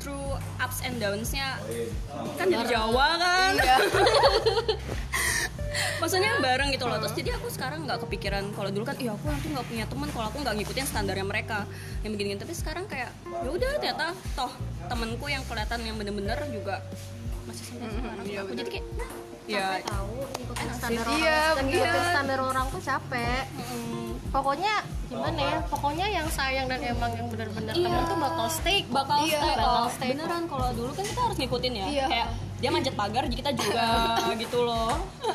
[SPEAKER 4] through ups and downs-nya kan dari Jawa kan
[SPEAKER 1] Iya.
[SPEAKER 4] maksudnya bareng gitu loh terus jadi aku sekarang nggak kepikiran kalau dulu kan iya aku nanti nggak punya teman kalau aku nggak ngikutin standarnya mereka yang begini tapi sekarang kayak ya udah ternyata toh temanku yang kelihatan yang bener-bener juga masih sampai sekarang
[SPEAKER 1] iya,
[SPEAKER 4] aku
[SPEAKER 1] bener.
[SPEAKER 4] jadi kayak "Hah, ya
[SPEAKER 3] capek tahu ngikutin standar
[SPEAKER 1] Iya,
[SPEAKER 3] orang ngikutin
[SPEAKER 1] iya.
[SPEAKER 3] standar orang tuh capek
[SPEAKER 4] mm,
[SPEAKER 2] pokoknya gimana ya pokoknya yang sayang dan emang yang benar-benar temen tuh bakal stay kok.
[SPEAKER 4] bakal
[SPEAKER 1] Iya,
[SPEAKER 4] stay
[SPEAKER 2] bakal
[SPEAKER 4] off.
[SPEAKER 2] stay
[SPEAKER 4] beneran kalau dulu kan kita harus ngikutin ya
[SPEAKER 1] Iya.
[SPEAKER 4] kayak dia manjat pagar kita juga gitu loh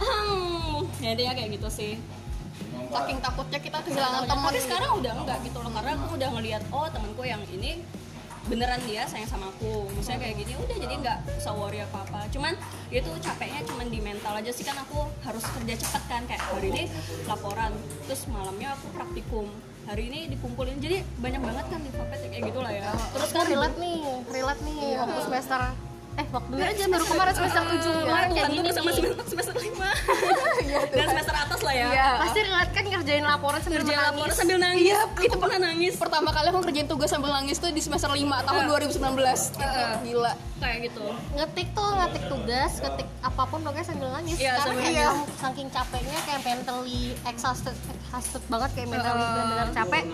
[SPEAKER 4] Hmm, ya intinya kayak gitu sih
[SPEAKER 1] saking takutnya kita kehilangan
[SPEAKER 4] Tapi
[SPEAKER 1] teman
[SPEAKER 4] sekarang udah enggak gitu loh karena aku udah ngelihat oh temanku yang ini beneran dia sayang sama aku misalnya kayak gini udah jadi nggak usah worry apa apa cuman itu capeknya cuman di mental aja sih kan aku harus kerja cepet kan kayak hari ini laporan terus malamnya aku praktikum hari ini dikumpulin jadi banyak banget kan di papet kayak gitulah ya
[SPEAKER 2] terus kan relate nih relate nih waktu semester eh
[SPEAKER 4] Iya,
[SPEAKER 2] waktu aja baru kemarin semester 7
[SPEAKER 4] kemarin
[SPEAKER 2] kemarin kayak
[SPEAKER 4] bukan
[SPEAKER 2] gini
[SPEAKER 4] dulu iya, gitu sama
[SPEAKER 2] nih.
[SPEAKER 4] semester iya, semester lima dan semester atas lah ya
[SPEAKER 1] Iya.
[SPEAKER 2] pasti relate kan ngerjain laporan sambil
[SPEAKER 4] kerja
[SPEAKER 2] menangis.
[SPEAKER 4] laporan sambil nangis
[SPEAKER 1] Iya,
[SPEAKER 4] itu pernah nangis
[SPEAKER 1] pertama kali aku ngerjain tugas sambil nangis tuh di semester 5 tahun 2019 gitu.
[SPEAKER 4] Heeh.
[SPEAKER 1] gila
[SPEAKER 4] kayak gitu
[SPEAKER 2] ngetik tuh ngetik tugas ngetik apapun pokoknya sambil nangis
[SPEAKER 4] Iya,
[SPEAKER 2] karena
[SPEAKER 4] sambil
[SPEAKER 2] kayak
[SPEAKER 1] nangis.
[SPEAKER 2] yang saking capeknya kayak mentally exhausted exhausted banget kayak mentally benar-benar capek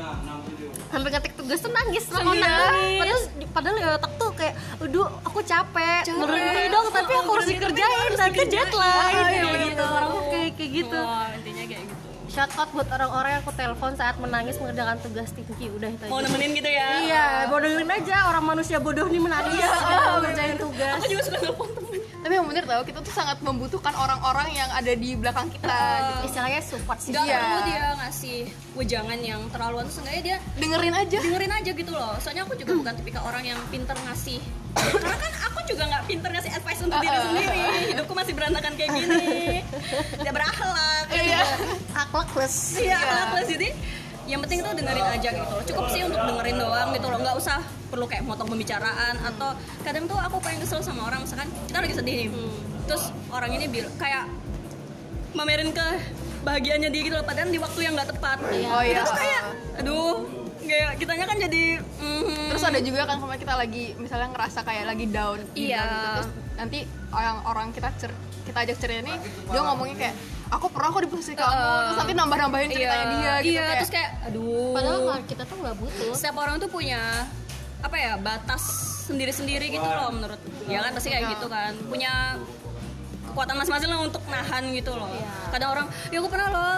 [SPEAKER 2] sampai ngetik tugas tuh nangis
[SPEAKER 4] Sambil
[SPEAKER 2] teleponan.
[SPEAKER 4] nangis.
[SPEAKER 2] padahal padahal di otak tuh kayak aduh aku capek,
[SPEAKER 4] Capek.
[SPEAKER 2] nurunin dong tapi
[SPEAKER 4] Oh,
[SPEAKER 2] aku harus
[SPEAKER 4] nurunin, tapi
[SPEAKER 2] dikerjain nanti deadline
[SPEAKER 4] Iya,
[SPEAKER 2] kayak
[SPEAKER 4] gitu.
[SPEAKER 2] gitu orang tuh kayak kayak gitu
[SPEAKER 4] Wah, intinya kayak gitu
[SPEAKER 2] shout out buat orang-orang yang aku telepon saat menangis mengerjakan tugas tinggi udah itu
[SPEAKER 4] mau
[SPEAKER 2] aja.
[SPEAKER 4] nemenin gitu ya
[SPEAKER 2] iya mau dengerin aja orang manusia bodoh nih menangis sedang mengerjain Iya, tugas
[SPEAKER 4] aku juga suka nelfon temen
[SPEAKER 1] tapi yang bener tau kita tuh sangat membutuhkan orang-orang yang ada di belakang kita gitu.
[SPEAKER 2] istilahnya support sih
[SPEAKER 4] Gak
[SPEAKER 1] Iya.
[SPEAKER 4] perlu dia ngasih wejangan yang terlaluan Terus Seenggaknya dia
[SPEAKER 1] dengerin aja
[SPEAKER 4] dengerin aja gitu loh Soalnya aku juga bukan tipikal orang yang pinter ngasih Karena kan aku juga gak pinter ngasih advice untuk diri sendiri Hidupku masih berantakan kayak gini Tidak berakhlak
[SPEAKER 1] iya
[SPEAKER 2] aklakless
[SPEAKER 4] Iya, akhlak jadi yang penting tuh dengerin aja gitu loh. Cukup sih untuk dengerin doang gitu loh. Nggak usah perlu kayak motong pembicaraan atau kadang tuh aku paling kesel sama orang misalkan kita lagi sedih nih.
[SPEAKER 1] Hmm.
[SPEAKER 4] Terus orang ini bil- kayak mamerin ke bahagiannya dia gitu loh padahal di waktu yang nggak tepat.
[SPEAKER 1] oh iya
[SPEAKER 4] Itu kayak aduh, kayak kitanya kan jadi mhm.
[SPEAKER 1] terus ada juga kan kemarin kita lagi misalnya ngerasa kayak lagi down gitu,
[SPEAKER 4] Iya.
[SPEAKER 1] gitu. terus nanti orang orang kita cer kita ajak cerita nih dia ngomongnya kayak aku pernah kok di posisi kamu
[SPEAKER 4] Heeh.
[SPEAKER 1] terus nanti nambah nambahin ceritanya dia gitu
[SPEAKER 4] Iya,
[SPEAKER 1] kayak,
[SPEAKER 4] terus kayak aduh.
[SPEAKER 2] padahal kalau kita tuh nggak butuh
[SPEAKER 4] setiap orang tuh punya apa ya batas sendiri-sendiri gitu loh menurut ya kan pasti
[SPEAKER 1] Iya.
[SPEAKER 4] kayak gitu kan punya kekuatan masing-masing lah untuk nahan gitu loh
[SPEAKER 1] Iya.
[SPEAKER 4] kadang orang ya aku pernah loh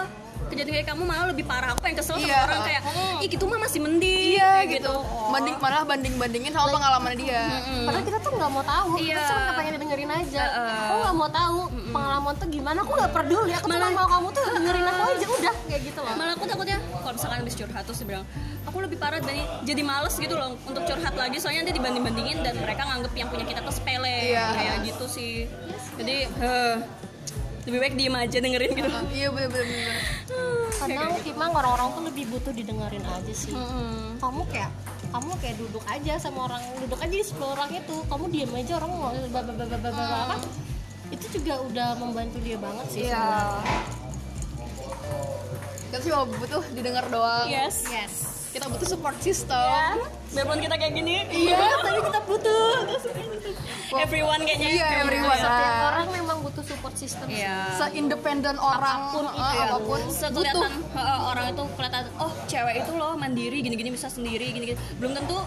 [SPEAKER 4] kejadian kayak kamu malah lebih parah aku yang kesel sama
[SPEAKER 1] Iya.
[SPEAKER 4] orang kayak ih gitu mah masih mending
[SPEAKER 1] iya
[SPEAKER 4] kayak
[SPEAKER 1] gitu,
[SPEAKER 4] Oh.
[SPEAKER 1] banding malah banding bandingin sama pengalaman dia
[SPEAKER 4] Mm-mm.
[SPEAKER 2] padahal kita tuh nggak mau tahu kita
[SPEAKER 4] Hmm. Iya.
[SPEAKER 2] cuma nggak pengen dengerin aja
[SPEAKER 4] Heeh.
[SPEAKER 2] aku nggak mau tahu pengalaman tuh gimana aku nggak peduli aku cuma
[SPEAKER 4] Malah-
[SPEAKER 2] mau kamu tuh dengerin aku aja udah kayak gitu loh
[SPEAKER 4] malah aku takutnya kalau misalkan habis curhat terus dibilang aku lebih parah dari jadi males gitu loh untuk curhat lagi soalnya nanti dibanding bandingin dan mereka nganggep yang punya kita tuh sepele
[SPEAKER 1] Iya.
[SPEAKER 4] kayak gitu sih jadi eh, lebih baik diem aja dengerin gitu
[SPEAKER 1] iya bener bener, bener.
[SPEAKER 2] kadang emang orang-orang tuh lebih butuh didengerin aja sih kamu kayak kamu kayak duduk aja sama orang duduk aja di sepuluh orang itu kamu diam aja orang mau
[SPEAKER 4] Mm.
[SPEAKER 2] apa itu juga udah membantu dia banget sih
[SPEAKER 1] iya kita sih mau butuh didengar doang
[SPEAKER 4] yes
[SPEAKER 2] yes
[SPEAKER 1] kita butuh support system
[SPEAKER 4] Biarpun kita kayak gini,
[SPEAKER 2] iya tapi kita butuh
[SPEAKER 4] everyone kayaknya.
[SPEAKER 1] iya everyone
[SPEAKER 2] setiap orang memang butuh support system
[SPEAKER 4] Ah. Iya.
[SPEAKER 1] seindependen orang
[SPEAKER 2] Apapun itu
[SPEAKER 1] eh,
[SPEAKER 2] ya.
[SPEAKER 1] apapun
[SPEAKER 4] Sekelihatan heeh, orang itu kelihatan, oh cewek itu loh mandiri, gini-gini bisa sendiri, gini-gini. Belum tentu,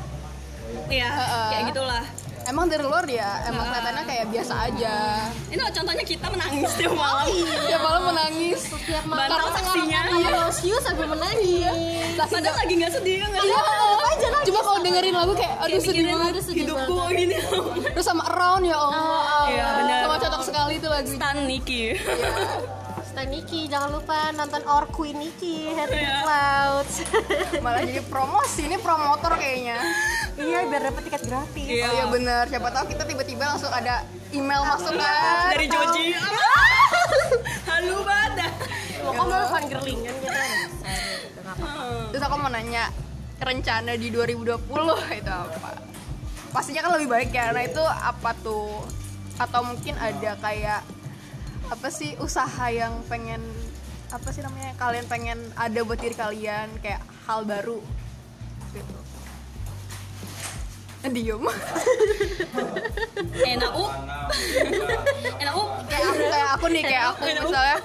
[SPEAKER 4] ya
[SPEAKER 1] Heeh.
[SPEAKER 4] kayak gitulah.
[SPEAKER 1] emang dari luar ya emang kelihatannya kayak biasa aja
[SPEAKER 4] Ini loh contohnya kita menangis tiap malam.
[SPEAKER 1] tiap malam menangis
[SPEAKER 2] setiap malam
[SPEAKER 4] Bantal saksinya.
[SPEAKER 2] Lucius sampai menangis
[SPEAKER 1] Tapi
[SPEAKER 4] Padahal lagi nggak sedih kan nggak
[SPEAKER 1] Iya,
[SPEAKER 4] sih?
[SPEAKER 1] aja Cuma kalau dengerin lagu kayak gitu. aduh
[SPEAKER 4] Kayak
[SPEAKER 1] sedih
[SPEAKER 4] pikirin,
[SPEAKER 1] banget.
[SPEAKER 2] aduh, sedih
[SPEAKER 4] hidupku
[SPEAKER 2] banget.
[SPEAKER 4] gini.
[SPEAKER 1] Terus sama Around ya Allah.
[SPEAKER 4] Iya, benar. Iya,
[SPEAKER 1] Sama cocok sekali itu lagu.
[SPEAKER 4] Stan Niki.
[SPEAKER 2] Teh Niki, jangan lupa nonton Our Queen Niki, Head Clouds.
[SPEAKER 1] malah jadi promosi ini promotor kayaknya
[SPEAKER 2] iya, biar dapat tiket gratis.
[SPEAKER 1] iya oh, iya bener siapa tahu kita tiba-tiba langsung ada email masuk kan
[SPEAKER 4] dari Joji halu banget
[SPEAKER 2] Mau kok malah fangirlingan gitu.
[SPEAKER 1] terus aku mau nanya rencana di 2020 itu apa pastinya kan lebih baik ya nah itu apa tuh atau mungkin ada kayak apa sih usaha yang pengen apa sih namanya kalian pengen ada buat diri kalian kayak hal baru gitu Eh, diem
[SPEAKER 4] enak up enak up
[SPEAKER 1] kayak aku kayak aku nih kayak aku misalnya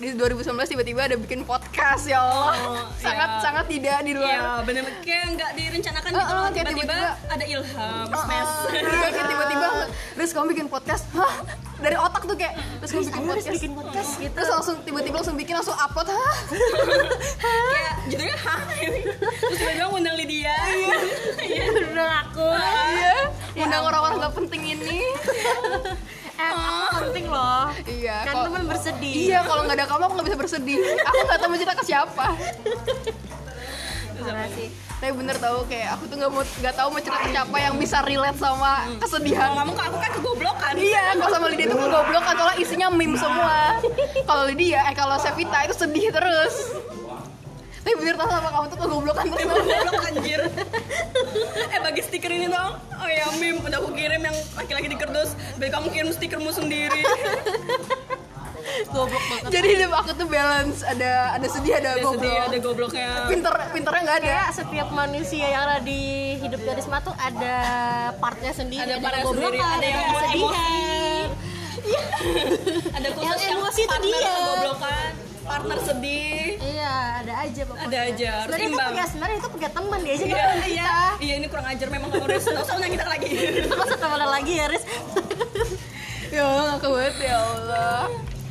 [SPEAKER 1] di 2019 tiba-tiba ada bikin podcast ya Allah
[SPEAKER 4] Oh,
[SPEAKER 1] sangat
[SPEAKER 4] iya.
[SPEAKER 1] sangat tidak di luar
[SPEAKER 4] Iya bener kayak nggak direncanakan
[SPEAKER 1] Oh, oh,
[SPEAKER 4] gitu loh
[SPEAKER 1] kayak
[SPEAKER 4] tiba-tiba
[SPEAKER 1] tiba-tiba.
[SPEAKER 4] ada ilham
[SPEAKER 1] Oh,
[SPEAKER 4] smash
[SPEAKER 1] oh. Iya, kayak tiba-tiba terus kamu bikin podcast hah dari otak tuh kayak terus kamu bikin podcast
[SPEAKER 2] Bikin podcast gitu.
[SPEAKER 1] terus langsung tiba-tiba langsung bikin langsung upload hah
[SPEAKER 4] kayak judulnya hah terus tiba-tiba ngundang Lydia
[SPEAKER 2] Udah aku.
[SPEAKER 1] iya
[SPEAKER 2] Ya
[SPEAKER 1] undang orang-orang nggak penting ini
[SPEAKER 2] Eh, aku penting loh.
[SPEAKER 1] iya
[SPEAKER 2] Kan
[SPEAKER 1] kok-
[SPEAKER 2] teman bersedih.
[SPEAKER 1] iya kalau nggak ada kamu aku nggak bisa bersedih aku nggak tahu mau cerita ke siapa
[SPEAKER 2] Parah sih.
[SPEAKER 1] tapi bener tau kayak aku tuh nggak mau nggak tahu mau cerita ke siapa yang bisa relate sama
[SPEAKER 2] Hmm.
[SPEAKER 1] kesedihan
[SPEAKER 4] kalau ngomong ke aku kan kegoblokan
[SPEAKER 1] Iya, kalau sama Lydia itu kegoblokan soalnya isinya meme semua. Kalau Lydia, eh kalau Sevita itu sedih terus. Tapi bener tau sama kamu tuh kegoblokan terus.
[SPEAKER 4] goblok anjir eh bagi stiker ini dong oh ya mim udah aku kirim yang laki-laki di kerdus biar kamu kirim stikermu sendiri
[SPEAKER 2] Goblok banget.
[SPEAKER 1] Jadi hidup aku tuh balance, ada ada sedih, ada
[SPEAKER 4] ada sedih
[SPEAKER 1] goblok.
[SPEAKER 4] ada gobloknya
[SPEAKER 1] Pinter pinternya nggak ada.
[SPEAKER 2] Kayak setiap manusia yang ada di hidup garisma tuh ada partnya sendiri,
[SPEAKER 4] Ada partnya
[SPEAKER 2] kegoblokan,
[SPEAKER 4] sendiri, ada yang
[SPEAKER 2] kesedihan.
[SPEAKER 4] ada khusus
[SPEAKER 2] Yang emosi itu
[SPEAKER 4] partner
[SPEAKER 2] dia.
[SPEAKER 4] kegoblokan partner sedih
[SPEAKER 2] Iya, ada aja pokoknya.
[SPEAKER 4] Ada aja, harus
[SPEAKER 2] Sebenarnya itu
[SPEAKER 4] imbang.
[SPEAKER 2] punya sebenarnya itu punya teman dia aja
[SPEAKER 4] iya
[SPEAKER 2] kan.
[SPEAKER 4] iya iya ini kurang ajar memang kamu harus nggak usah undang kita lagi
[SPEAKER 2] Masa teman lagi ya, Riz?
[SPEAKER 1] Ya Allah, aku banget ya Allah.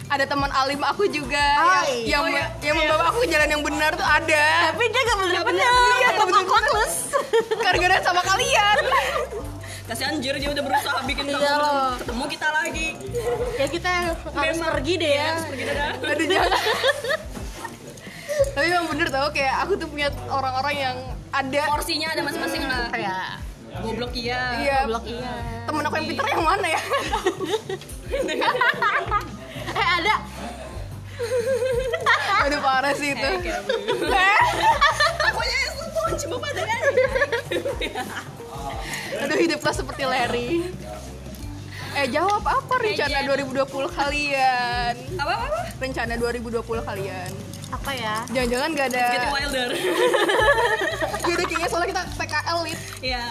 [SPEAKER 1] Ada teman alim aku juga ya,
[SPEAKER 2] Hai.
[SPEAKER 1] yang yang,
[SPEAKER 4] Oh, iya.
[SPEAKER 1] yang membawa aku ke jalan yang benar tuh ada.
[SPEAKER 2] Tapi dia gak bener-bener.
[SPEAKER 1] bener-bener.
[SPEAKER 2] Iya,
[SPEAKER 1] Gak
[SPEAKER 2] bener Clueless.
[SPEAKER 1] Gara-gara sama kalian.
[SPEAKER 4] kasihan anjir dia udah berusaha bikin kamu
[SPEAKER 2] Iya
[SPEAKER 4] terus
[SPEAKER 2] loh.
[SPEAKER 4] ketemu kita lagi
[SPEAKER 2] Ya kita harus
[SPEAKER 4] Memang.
[SPEAKER 2] pergi deh
[SPEAKER 4] Iya,
[SPEAKER 2] ya.
[SPEAKER 4] harus pergi dadah
[SPEAKER 1] Aduh jangan. Tapi emang bener tau kayak aku tuh punya orang-orang yang ada
[SPEAKER 4] porsinya ada masing-masing lah
[SPEAKER 2] Ya.
[SPEAKER 4] goblok iya
[SPEAKER 1] Iya.
[SPEAKER 2] Blok iya.
[SPEAKER 1] Temen aku yang pinter yang mana ya?
[SPEAKER 2] Eh, ada.
[SPEAKER 1] Aduh parah sih itu.
[SPEAKER 4] pokoknya semua cuma pada kan
[SPEAKER 1] Aduh hiduplah seperti Larry. Eh jawab apa
[SPEAKER 4] Iya,
[SPEAKER 1] rencana 2020 kalian?
[SPEAKER 4] apa apa apa?
[SPEAKER 1] Rencana 2020 kalian?
[SPEAKER 2] Apa ya?
[SPEAKER 1] Jangan-jangan gak ada.
[SPEAKER 4] Getting wilder
[SPEAKER 1] Jadi kayaknya soalnya kita PKL lit.
[SPEAKER 4] Iya.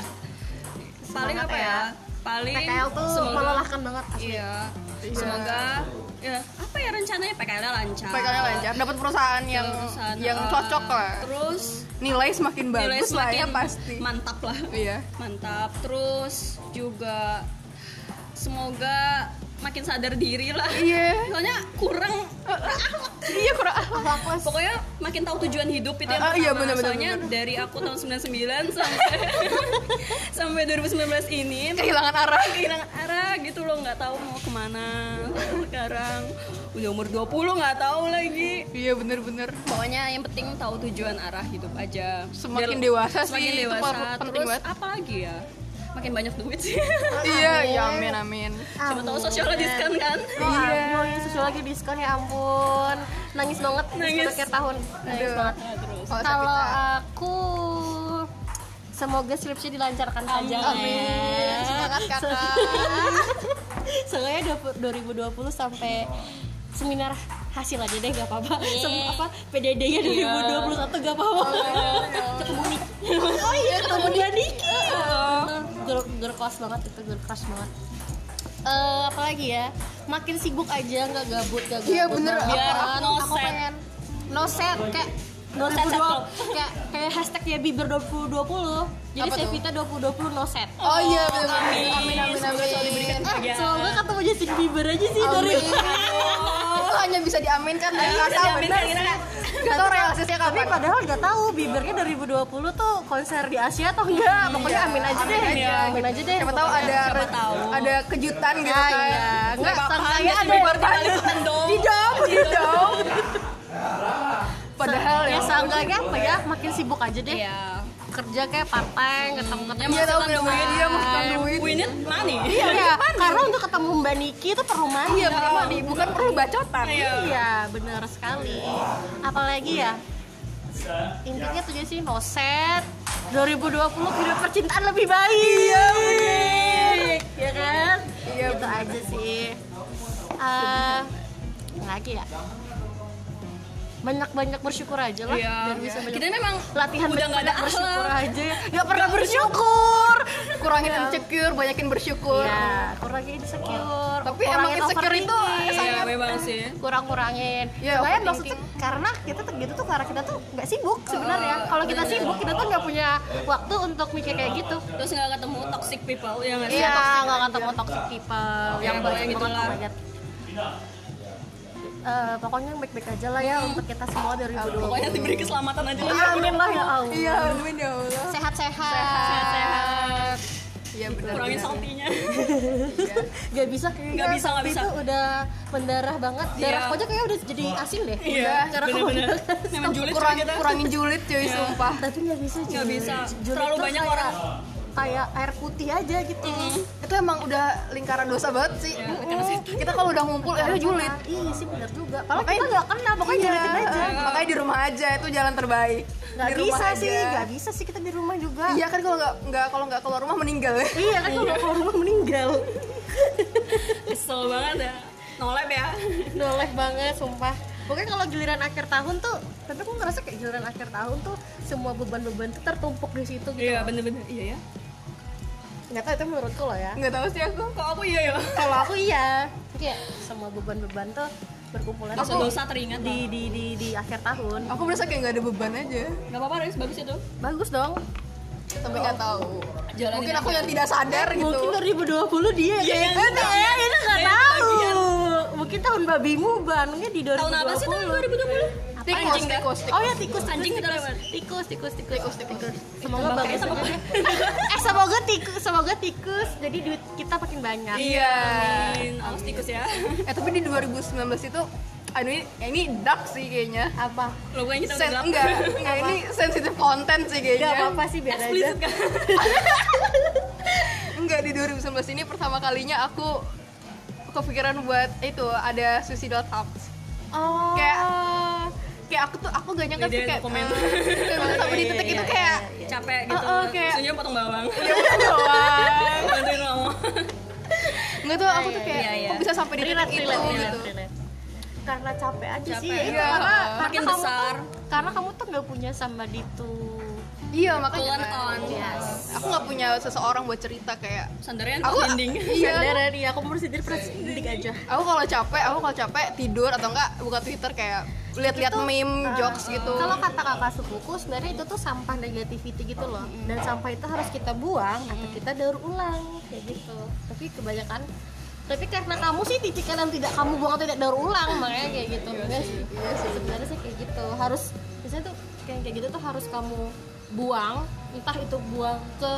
[SPEAKER 4] Paling
[SPEAKER 2] Semangat
[SPEAKER 4] apa
[SPEAKER 2] ya.
[SPEAKER 4] ya? Paling
[SPEAKER 2] PKL tuh melelahkan banget.
[SPEAKER 4] Iya. Semoga ya, apa ya rencananya PKL lancar.
[SPEAKER 1] PKL lancar, dapat perusahaan yang
[SPEAKER 4] Ah. Perusahaan,
[SPEAKER 1] yang
[SPEAKER 4] eh,
[SPEAKER 1] cocok lah.
[SPEAKER 4] Terus
[SPEAKER 1] Nilai semakin
[SPEAKER 4] nilai
[SPEAKER 1] bagus lah
[SPEAKER 4] semakin
[SPEAKER 1] ya pasti.
[SPEAKER 4] mantap lah.
[SPEAKER 1] Iya.
[SPEAKER 4] Mantap. Terus juga semoga makin sadar diri lah.
[SPEAKER 1] Iya.
[SPEAKER 4] Soalnya kurang
[SPEAKER 1] Iya kurang
[SPEAKER 2] Clueless.
[SPEAKER 4] pokoknya makin tahu tujuan hidup itu yang
[SPEAKER 1] Ah, ah, iya,
[SPEAKER 4] pertama.
[SPEAKER 1] bener, bener,
[SPEAKER 4] Soalnya dari aku tahun 99 sampai sampai 2019 ini
[SPEAKER 1] kehilangan arah.
[SPEAKER 4] kehilangan arah gitu loh nggak tahu mau kemana sekarang udah umur 20 nggak tahu lagi
[SPEAKER 1] Iya bener-bener.
[SPEAKER 4] pokoknya yang penting tahu tujuan arah hidup aja
[SPEAKER 1] Semakin
[SPEAKER 4] Biar-
[SPEAKER 1] dewasa sih,
[SPEAKER 4] semakin
[SPEAKER 1] itu
[SPEAKER 4] dewasa
[SPEAKER 1] penting
[SPEAKER 4] terus
[SPEAKER 1] banget.
[SPEAKER 4] apa lagi ya makin banyak duit sih
[SPEAKER 1] Iya, ya amin amin.
[SPEAKER 4] cuma tahu sosial diskon kan
[SPEAKER 2] Oh, ampun, susu lagi diskon ya ampun. Nangis banget
[SPEAKER 4] Nangis.
[SPEAKER 2] nangis akhir tahun. Nangis
[SPEAKER 1] Aduh.
[SPEAKER 2] banget.
[SPEAKER 4] Nah, terus
[SPEAKER 1] Kalau
[SPEAKER 2] Kalau
[SPEAKER 1] Savita.
[SPEAKER 2] aku semoga skripsi dilancarkan saja.
[SPEAKER 1] amin. Semangat kakak.
[SPEAKER 2] Soalnya 2020 sampai seminar hasil aja deh gak apa-apa. Sem- apa PDD-nya 2021 gak apa-apa. Ketemu nih. iya, Oh iya ketemu dia Niki. Girl, girl crush banget itu girl crush banget. Eh apalagi ya makin sibuk aja nggak gabut nggak gabut
[SPEAKER 1] Iya, bener.
[SPEAKER 2] nggak
[SPEAKER 4] Biar
[SPEAKER 2] apaan.
[SPEAKER 4] no
[SPEAKER 2] aku
[SPEAKER 4] set.
[SPEAKER 2] pengen no set kayak no set kayak kayak hashtagnya Bieber 2020 jadi
[SPEAKER 1] Apa tuh?
[SPEAKER 2] Sevita 2020 no set
[SPEAKER 1] Oh iya bener amin amin amin
[SPEAKER 4] Semoga selalu diberikan
[SPEAKER 1] amin.
[SPEAKER 2] Eh,
[SPEAKER 4] kebahagiaan.
[SPEAKER 2] semoga ketemu Justin Bieber aja sih dari
[SPEAKER 1] Amin. Itu hanya bisa diaminkan dan nggak tahu bener. Nggak tahu realisasinya
[SPEAKER 2] Tapi
[SPEAKER 1] kapan.
[SPEAKER 2] padahal nggak tahu Biebernya 2020 tuh konser di Asia atau enggak. Pokoknya amin aja deh.
[SPEAKER 1] Iya. Amin aja.
[SPEAKER 2] Amin aja deh.
[SPEAKER 1] Siapa tahu ada
[SPEAKER 4] Siapa tahu.
[SPEAKER 1] ada kejutan gitu kan.
[SPEAKER 2] Iya,
[SPEAKER 1] Nggak
[SPEAKER 2] nggak
[SPEAKER 1] sangkanya
[SPEAKER 4] Hanya
[SPEAKER 1] ada
[SPEAKER 4] ada
[SPEAKER 1] yang
[SPEAKER 4] balik
[SPEAKER 1] berbalik.
[SPEAKER 4] ke Bandung
[SPEAKER 1] Di dom, di dom.
[SPEAKER 2] enggaknya apa ya makin sibuk aja deh
[SPEAKER 4] Iya.
[SPEAKER 2] kerja kayak partai ketemu ketemu
[SPEAKER 1] Iya, tahu punya duit, iya, maksudkan
[SPEAKER 2] Ah,
[SPEAKER 1] duit.
[SPEAKER 4] We need money.
[SPEAKER 2] iya karena untuk ketemu mbak Niki itu perlu main
[SPEAKER 1] kan? Iya, minimal di- bukan perlu bacotan.
[SPEAKER 2] Iya, benar sekali. Apalagi ya, intinya tuh sih no set. 2020 hidup percintaan lebih baik. Iya, kan?
[SPEAKER 1] Iya,
[SPEAKER 2] Gitu aja sih. Eh, lagi ya. Banyak-banyak bersyukur aja lah.
[SPEAKER 4] Iya.
[SPEAKER 2] Biar bisa banyak-
[SPEAKER 4] Kita memang
[SPEAKER 2] latihan
[SPEAKER 4] udah nggak ada
[SPEAKER 2] banyak-banyak bersyukur
[SPEAKER 4] akhlak.
[SPEAKER 2] aja. Gak pernah bersyukur.
[SPEAKER 1] Kurangin insecure, banyakin bersyukur.
[SPEAKER 2] Iya, kurangin insecure.
[SPEAKER 1] Tapi emang
[SPEAKER 2] kurangin
[SPEAKER 1] insecure itu
[SPEAKER 2] overthinking
[SPEAKER 4] Iya, memang sih.
[SPEAKER 2] kurang-kurangin.
[SPEAKER 1] Ya,
[SPEAKER 2] Soalnya
[SPEAKER 1] overthinking.
[SPEAKER 2] maksudnya karena kita tuh gitu tuh karena kita tuh nggak sibuk sebenarnya.
[SPEAKER 4] Ah.
[SPEAKER 2] Kalau kita sibuk kita tuh nggak punya waktu untuk mikir kayak gitu.
[SPEAKER 4] Terus nggak ketemu toxic people ya nggak sih?
[SPEAKER 2] Iya, nggak ketemu toxic people
[SPEAKER 4] Yang banyak gitu
[SPEAKER 2] banget,
[SPEAKER 4] lah.
[SPEAKER 2] banyak. Eh, pokoknya baik-baik aja lah ya untuk kita semua dari
[SPEAKER 4] Iya,
[SPEAKER 2] dulu.
[SPEAKER 4] Pokoknya diberi keselamatan aja lah.
[SPEAKER 2] Amin lah ya Allah.
[SPEAKER 1] Iya, amin ya Allah.
[SPEAKER 2] Sehat-sehat.
[SPEAKER 1] Iya, benar.
[SPEAKER 4] Kurangin
[SPEAKER 1] benar.
[SPEAKER 4] saltinya.
[SPEAKER 2] Gak bisa kayaknya.
[SPEAKER 4] Nggak bisa, nggak
[SPEAKER 2] Waktu Iya,
[SPEAKER 4] bisa.
[SPEAKER 2] Itu udah mendarah banget. Darahku
[SPEAKER 4] Iya.
[SPEAKER 2] aja kayaknya udah jadi asin deh.
[SPEAKER 4] Iya,
[SPEAKER 2] Karena aku
[SPEAKER 4] bener-bener. Memang julid
[SPEAKER 1] Kurang,
[SPEAKER 4] sih kita.
[SPEAKER 1] kurangin julid cuy,
[SPEAKER 2] Iya.
[SPEAKER 1] sumpah.
[SPEAKER 2] tapi nggak bisa
[SPEAKER 4] Nggak
[SPEAKER 2] Jul.
[SPEAKER 4] bisa.
[SPEAKER 2] Jul
[SPEAKER 4] Terlalu
[SPEAKER 2] itu
[SPEAKER 4] banyak
[SPEAKER 2] kayak-
[SPEAKER 4] orang.
[SPEAKER 2] kayak air putih aja gitu
[SPEAKER 1] Itu emang udah lingkaran dosa banget sih.
[SPEAKER 2] Iya,
[SPEAKER 1] Kita kalau udah ngumpul, ya
[SPEAKER 2] Karena-
[SPEAKER 1] julid.
[SPEAKER 2] iya sih bener juga kalau
[SPEAKER 1] Makanya-
[SPEAKER 2] kita nggak kenal pokoknya
[SPEAKER 1] Iya,
[SPEAKER 2] jalanin aja
[SPEAKER 1] eh, Makanya di rumah aja itu jalan terbaik. Di
[SPEAKER 2] nggak
[SPEAKER 1] rumah
[SPEAKER 2] bisa
[SPEAKER 1] aja.
[SPEAKER 2] sih nggak bisa sih kita di rumah juga
[SPEAKER 1] Iya kan kalau nggak nggak kalau nggak keluar rumah meninggal ya.
[SPEAKER 2] iya kan kalau keluar rumah meninggal
[SPEAKER 4] Kesel banget ya. Nolep ya.
[SPEAKER 2] noleh banget sumpah Pokoknya kalau giliran akhir tahun tuh, tapi aku ngerasa kayak giliran akhir tahun tuh semua beban-beban tuh tertumpuk di situ gitu.
[SPEAKER 4] Iya, bener-bener. Iya ya.
[SPEAKER 2] Nggak tahu itu menurutku loh ya.
[SPEAKER 1] Nggak tahu sih aku.
[SPEAKER 4] Kok aku iya ya?
[SPEAKER 2] Kalau aku iya, kayak semua beban-beban tuh berkumpulan
[SPEAKER 4] Dosa-dosa teringat
[SPEAKER 2] di, di di di akhir tahun.
[SPEAKER 1] Aku merasa kayak nggak ada beban aja.
[SPEAKER 4] Gak apa-apa, Riz. Bagus itu.
[SPEAKER 2] Bagus dong.
[SPEAKER 1] Tapi nggak tahu.
[SPEAKER 4] Jalanin
[SPEAKER 1] Mungkin aku yang tidak sadar gitu.
[SPEAKER 2] Mungkin 2020 dia kayak
[SPEAKER 4] Iya, yang
[SPEAKER 2] gitu ya,
[SPEAKER 4] itu.
[SPEAKER 2] kita nggak
[SPEAKER 4] Yang
[SPEAKER 2] tahu.
[SPEAKER 4] bagian.
[SPEAKER 2] Mungkin tahun babimu banget di 2020.
[SPEAKER 4] Tahun apa sih tahun 2020?
[SPEAKER 1] Tikus, tikus,
[SPEAKER 2] Oh
[SPEAKER 1] tikus.
[SPEAKER 2] ya tikus,
[SPEAKER 4] Anjing
[SPEAKER 2] tikus,
[SPEAKER 4] kita lewat.
[SPEAKER 2] tikus, tikus, tikus, tikus, tikus.
[SPEAKER 4] Bakar
[SPEAKER 2] Semoga bagus.
[SPEAKER 4] sama
[SPEAKER 2] aja. eh semoga tikus, semoga tikus. Jadi duit kita makin banyak.
[SPEAKER 1] Iya.
[SPEAKER 4] Main awas tikus ya.
[SPEAKER 1] Eh tapi di 2019 itu aduh ini, ini dark sih kayaknya.
[SPEAKER 2] Apa?
[SPEAKER 4] Lo gue yang kita
[SPEAKER 1] Sen,
[SPEAKER 4] gelap.
[SPEAKER 1] enggak, enggak ini sensitif konten sih
[SPEAKER 2] Gak
[SPEAKER 1] kayaknya.
[SPEAKER 2] apa-apa sih biar aja.
[SPEAKER 4] Explicit kan?
[SPEAKER 1] Enggak di 2019 ini pertama kalinya aku kepikiran buat itu ada suicidal thoughts.
[SPEAKER 2] Oh.
[SPEAKER 1] Kayak kayak aku tuh aku gak nyangka sih
[SPEAKER 4] Lidahin
[SPEAKER 1] kayak
[SPEAKER 4] komen. Iya,
[SPEAKER 1] eh, kayak banget
[SPEAKER 2] iya,
[SPEAKER 1] sampai di titik itu kayak
[SPEAKER 4] Capek gitu.
[SPEAKER 1] Oh, oh, kayak-
[SPEAKER 4] Senyum potong bawang. Iya,
[SPEAKER 1] ya udah doang.
[SPEAKER 4] Bantuin ngomong.
[SPEAKER 1] Enggak tuh aku tuh kayak
[SPEAKER 4] iya, iya.
[SPEAKER 1] kok bisa sampai di titik
[SPEAKER 2] Relate,
[SPEAKER 1] itu
[SPEAKER 2] relate, relate,
[SPEAKER 1] gitu.
[SPEAKER 2] relate. Karena capek aja sih.
[SPEAKER 4] Capek.
[SPEAKER 2] ya itu.
[SPEAKER 1] Iya.
[SPEAKER 2] Karena,
[SPEAKER 4] Makin
[SPEAKER 2] karena
[SPEAKER 4] besar.
[SPEAKER 2] Kamu tuh, karena kamu tuh nggak punya somebody to
[SPEAKER 1] Iya makanya
[SPEAKER 4] Tulen on.
[SPEAKER 1] aku nggak punya seseorang buat cerita kayak
[SPEAKER 4] Sandaran
[SPEAKER 1] aku
[SPEAKER 4] ending.
[SPEAKER 1] iya
[SPEAKER 2] Sadar ya, aku mau sendiri pernah sendiri aja.
[SPEAKER 1] aku kalau capek aku kalau capek tidur atau enggak buka twitter kayak lihat-lihat
[SPEAKER 4] ah.
[SPEAKER 1] meme jokes gitu
[SPEAKER 2] eh, Kalau kata kakak sepupu sebenarnya itu tuh sampah negativity gitu loh. Dan sampah itu harus kita buang atau kita daur ulang kayak gitu. Tapi kebanyakan tapi karena kamu sih titikan yang tidak kamu buang atau tidak daur ulang makanya kayak gitu. Iya sih. Sebenarnya sih kayak gitu. Harus biasanya tuh kayak kayak gitu tuh harus kamu buang, entah itu buang ke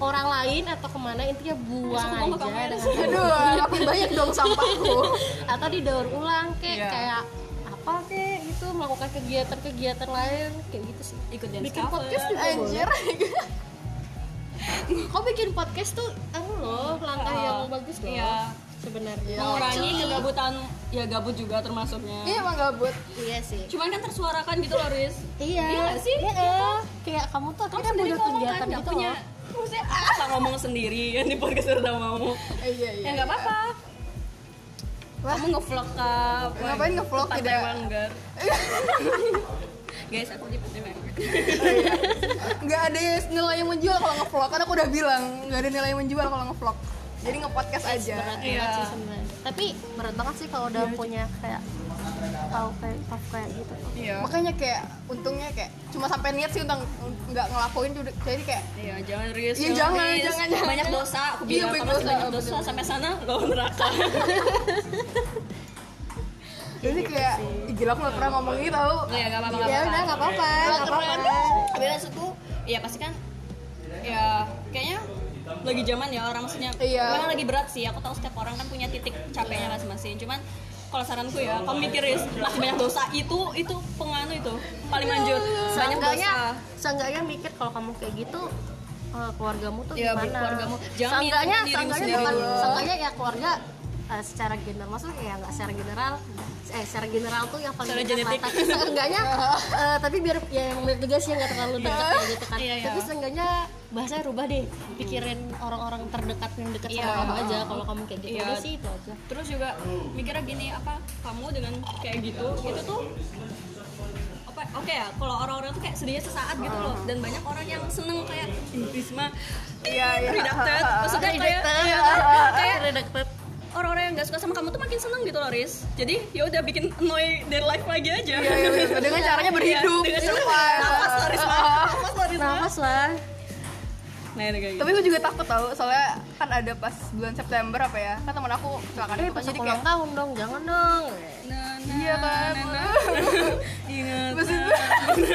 [SPEAKER 2] orang lain atau kemana intinya buang
[SPEAKER 4] Masuk ke kamar.
[SPEAKER 2] aja dengan
[SPEAKER 1] aduh makin banyak dong sampahku
[SPEAKER 2] atau didaur Ah, ulang kek
[SPEAKER 1] Iya.
[SPEAKER 2] kayak apa kek gitu melakukan kegiatan-kegiatan lain kayak gitu sih
[SPEAKER 4] Ikut dance
[SPEAKER 2] bikin
[SPEAKER 4] cover.
[SPEAKER 2] podcast juga
[SPEAKER 1] anjir
[SPEAKER 2] boleh kok bikin podcast tuh anu loh langkah
[SPEAKER 4] Oh,
[SPEAKER 2] yang bagus loh
[SPEAKER 4] iya.
[SPEAKER 2] sebenarnya
[SPEAKER 4] Mengurangi kegabutan ya gabut juga termasuknya.
[SPEAKER 1] iya emang gabut
[SPEAKER 2] iya sih
[SPEAKER 4] Cuman kan tersuarakan gitu loh, Riz.
[SPEAKER 2] iya
[SPEAKER 4] Iya nggak sih?
[SPEAKER 2] Iya. kayak kamu tuh
[SPEAKER 4] Kamu
[SPEAKER 2] akhirnya
[SPEAKER 4] sendiri
[SPEAKER 2] punya
[SPEAKER 4] ngomong
[SPEAKER 2] kegiatan
[SPEAKER 4] kan nggak
[SPEAKER 2] gitu
[SPEAKER 4] punya.
[SPEAKER 2] loh
[SPEAKER 4] Maksudnya aku bisa ngomong sendiri kan di podcast serta mau.
[SPEAKER 1] eh, iya iya
[SPEAKER 4] Ya nggak apa-apa.
[SPEAKER 1] Wah.
[SPEAKER 4] Kamu nge-vlog kah? apa?
[SPEAKER 1] Ngapain nge-vlog
[SPEAKER 4] Ke Pantai
[SPEAKER 1] tidak?
[SPEAKER 4] Manggar. Guys, aku di Pantai Manggar.
[SPEAKER 1] nggak ada nilai yang menjual kalau ngevlog kan aku udah bilang nggak ada nilai yang menjual kalau ngevlog jadi ngepodcast aja
[SPEAKER 4] Iya.
[SPEAKER 2] Berat sih sebenarnya. tapi berat banget sih kalau udah punya kayak tahu kayak tahu kayak gitu tuh.
[SPEAKER 4] Iya.
[SPEAKER 1] makanya kayak untungnya kayak cuma sampai niat sih untuk nggak ngelakuin jadi kayak
[SPEAKER 4] Iya, jangan Riz.
[SPEAKER 1] Iya, jangan,
[SPEAKER 4] Riz.
[SPEAKER 1] jangan, jangan.
[SPEAKER 4] Banyak dosa, aku
[SPEAKER 1] Iya,
[SPEAKER 4] bilang
[SPEAKER 1] banyak
[SPEAKER 4] kamu masih
[SPEAKER 1] dosa,
[SPEAKER 4] banyak dosa sampai sana lo neraka.
[SPEAKER 1] jadi kayak "Ih, gila aku nggak pernah ngomong gitu tau
[SPEAKER 4] gitu Iya, enggak apa-apa.
[SPEAKER 2] ya
[SPEAKER 4] nggak apa-apa.
[SPEAKER 2] udah nggak apa-apa
[SPEAKER 4] Kalau
[SPEAKER 2] nggak
[SPEAKER 4] keren
[SPEAKER 2] apa-apa
[SPEAKER 4] tapi maksud tuh ya pasti kan ya kayaknya lagi zaman ya orang maksudnya
[SPEAKER 1] Iya.
[SPEAKER 4] memang lagi berat sih aku tahu setiap orang kan punya titik capeknya masing-masing cuman kalau saranku ya kamu mikir Riz, masih banyak dosa itu itu penganu itu paling lanjut
[SPEAKER 1] Iya,
[SPEAKER 4] banyak
[SPEAKER 2] seenggaknya
[SPEAKER 4] dosa
[SPEAKER 2] ya, seenggaknya mikir kalau kamu kayak gitu eh, keluargamu tuh
[SPEAKER 4] Ya,
[SPEAKER 2] gimana
[SPEAKER 4] keluargamu. Jangan
[SPEAKER 2] seenggaknya
[SPEAKER 4] mikirin dirimu
[SPEAKER 2] seenggaknya
[SPEAKER 4] sendiri
[SPEAKER 2] bukan
[SPEAKER 4] dulu.
[SPEAKER 2] seenggaknya ya keluarga eh, secara general maksudnya ya nggak secara general eh secara general tuh yang paling
[SPEAKER 4] Secara
[SPEAKER 2] dekat lah.
[SPEAKER 4] genetik.
[SPEAKER 2] tapi seenggaknya eh, tapi biar ya yang milik juga sih yang nggak terlalu dekat ya gitu kan
[SPEAKER 4] Iya, iya.
[SPEAKER 2] tapi seenggaknya bahasanya rubah deh pikirin orang-orang terdekat yang dekat sama
[SPEAKER 4] Iya.
[SPEAKER 2] kamu aja kalau kamu kayak gitu
[SPEAKER 4] Iya.
[SPEAKER 2] udah sih itu aja
[SPEAKER 4] terus juga mikirnya gini apa kamu dengan kayak gitu itu tuh apa oke ya kalau orang-orang tuh kayak sedihnya sesaat gitu loh dan banyak orang yang seneng kayak "Ih, Risma
[SPEAKER 1] Iya, iya.
[SPEAKER 4] redacted maksudnya kayak iya, kayak Iya, orang-orang yang gak suka sama kamu tuh makin seneng gitu loh Riz jadi ya udah bikin annoy their life lagi aja
[SPEAKER 1] Iya, iya, iya. Dengan caranya berhidup.
[SPEAKER 4] Iya, dengan cara-
[SPEAKER 1] Survive.
[SPEAKER 4] Napas loh Risma Napas loh Risma
[SPEAKER 2] nafas lah
[SPEAKER 4] nah itu kayak gitu
[SPEAKER 1] tapi gue juga takut tau soalnya kan ada pas bulan September apa ya kan teman aku kecelakaan
[SPEAKER 2] eh
[SPEAKER 1] itu kan
[SPEAKER 2] pas
[SPEAKER 1] jadi
[SPEAKER 2] aku
[SPEAKER 1] kayak
[SPEAKER 2] ulang tahun dong jangan dong
[SPEAKER 4] Nah,
[SPEAKER 1] Iya, kan?
[SPEAKER 4] Ingat. nah,
[SPEAKER 1] Maksudnya-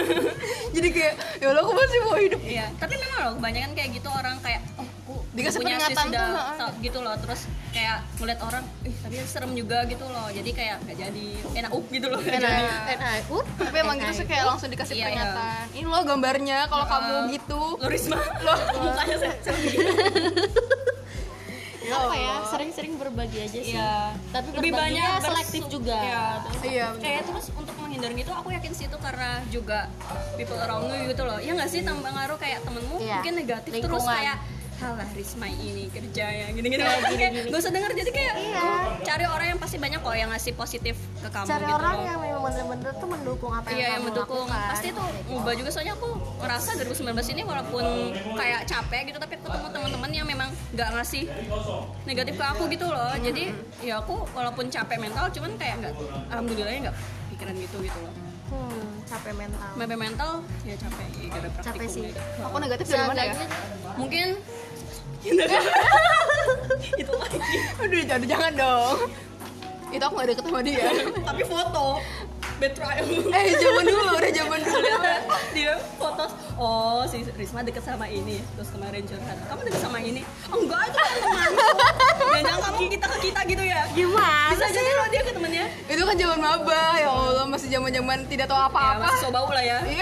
[SPEAKER 1] jadi kayak ya Allah aku masih mau hidup
[SPEAKER 4] Iya, tapi memang loh kebanyakan kayak gitu orang kayak oh, aku
[SPEAKER 1] Dikasih
[SPEAKER 4] punya sis
[SPEAKER 1] peringatan
[SPEAKER 4] udah
[SPEAKER 1] tuh, heeh.
[SPEAKER 4] tau," gitu loh. Terus kayak ngeliat orang, ih tapi serem juga gitu loh. Jadi kayak nggak jadi enak up gitu loh.
[SPEAKER 1] Enak.
[SPEAKER 4] Jadi,
[SPEAKER 2] NI ut
[SPEAKER 1] tapi emang gitu sih kayak langsung dikasih
[SPEAKER 4] Iya, iya.
[SPEAKER 1] peringatan ini lo gambarnya kalau kamu
[SPEAKER 4] Eh,
[SPEAKER 1] gitu
[SPEAKER 4] Lo Risma, lo mukanya
[SPEAKER 1] Iya.
[SPEAKER 4] sedih.
[SPEAKER 2] apa ya sering-sering berbagi aja sih
[SPEAKER 4] Iya.
[SPEAKER 2] tapi
[SPEAKER 4] Lebih
[SPEAKER 2] berbaginya
[SPEAKER 4] banyak bersu-
[SPEAKER 2] selektif juga
[SPEAKER 4] Iya. terus-
[SPEAKER 1] ya, Iya, bener.
[SPEAKER 4] Kayak terus untuk menghindari itu aku yakin sih itu karena juga people around you gitu loh. Ya nggak sih tambah ngaruh kayak temenmu
[SPEAKER 2] Iya.
[SPEAKER 4] mungkin negatif terus
[SPEAKER 2] Lingkungan. Iya,
[SPEAKER 4] kayak halah Risma ini kerjanya gini-gini kayak gak usah denger jadi kayak cari orang yang pasti banyak kok yang ngasih positif ke kamu
[SPEAKER 2] cari
[SPEAKER 4] gitu
[SPEAKER 2] orang
[SPEAKER 4] loh.
[SPEAKER 2] yang memang bener-bener tuh mendukung apa yang
[SPEAKER 4] Iya yang
[SPEAKER 2] kamu
[SPEAKER 4] mendukung
[SPEAKER 2] lakukan. gitu.
[SPEAKER 4] pasti itu ngubah juga soalnya aku ngerasa 2019 ini walaupun kayak capek gitu tapi ketemu teman-teman yang memang nggak ngasih negatif ke aku gitu loh jadi ya aku walaupun capek mental cuman kayak nggak alhamdulillahnya nggak pikiran gitu gitu loh
[SPEAKER 2] hmm, capek mental
[SPEAKER 4] capek mental ya capek ya, gak ada
[SPEAKER 2] capek
[SPEAKER 4] praktikum
[SPEAKER 2] sih
[SPEAKER 4] gitu.
[SPEAKER 1] aku negatif dari mana ya
[SPEAKER 4] mungkin itu lagi
[SPEAKER 1] aduh jangan jangan dong itu aku gak deket sama dia
[SPEAKER 4] tapi foto bad trial
[SPEAKER 1] eh zaman dulu udah zaman dulu
[SPEAKER 4] Ternyata dia foto oh si Risma deket sama ini terus kemarin curhat kamu deket sama ini oh, enggak itu kan teman jangan kamu kita ke kita gitu ya
[SPEAKER 2] gimana
[SPEAKER 4] bisa jadi loh dia Ya, ke temennya
[SPEAKER 1] itu kan zaman maba ya Allah masih zaman zaman tidak tahu
[SPEAKER 4] ya
[SPEAKER 1] apa-apa
[SPEAKER 4] masih so bau lah ya
[SPEAKER 1] iya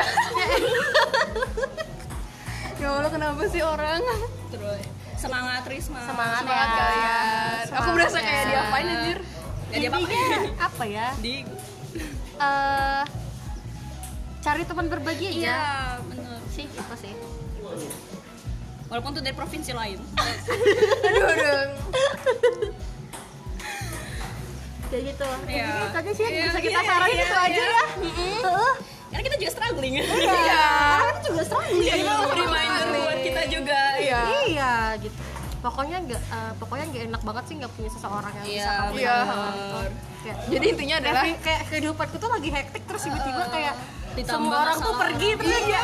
[SPEAKER 1] ya Allah kenapa sih orang
[SPEAKER 4] terus semangat Risma
[SPEAKER 2] semangat ya
[SPEAKER 1] semangat Iya. kalian aku
[SPEAKER 2] Semangat
[SPEAKER 1] berasa
[SPEAKER 2] ya.
[SPEAKER 1] kayak diapain anjir
[SPEAKER 4] Gak dia apa
[SPEAKER 2] Intinya, apa ya
[SPEAKER 4] di
[SPEAKER 2] Eh, cari teman berbagi aja
[SPEAKER 4] iya bener
[SPEAKER 2] sih itu sih
[SPEAKER 4] walaupun tuh dari provinsi lain
[SPEAKER 1] aduh aduh
[SPEAKER 2] kayak gitu
[SPEAKER 4] Iya.
[SPEAKER 2] Jadi itu aja sih yang
[SPEAKER 4] Iya,
[SPEAKER 2] bisa kita
[SPEAKER 4] iya,
[SPEAKER 2] saranin
[SPEAKER 4] iya,
[SPEAKER 2] itu
[SPEAKER 4] iya.
[SPEAKER 2] aja ya Heeh.
[SPEAKER 4] karena kita juga struggling
[SPEAKER 1] iya
[SPEAKER 2] Karena kan juga struggling
[SPEAKER 4] jadi itu reminder
[SPEAKER 1] Iya.
[SPEAKER 4] buat kita juga
[SPEAKER 1] iya
[SPEAKER 2] iya gitu pokoknya nggak eh, pokoknya nggak enak banget sih nggak punya seseorang yang bisa kamu gitu.
[SPEAKER 1] Iya.
[SPEAKER 4] bener.
[SPEAKER 2] kayak
[SPEAKER 1] jadi intinya adalah
[SPEAKER 2] kayak, kayak kehidupanku tuh lagi hektik terus tiba-tiba kayak
[SPEAKER 4] Eh, ditambah
[SPEAKER 2] semua orang tuh
[SPEAKER 4] masalah. Iya.
[SPEAKER 2] pergi terus ya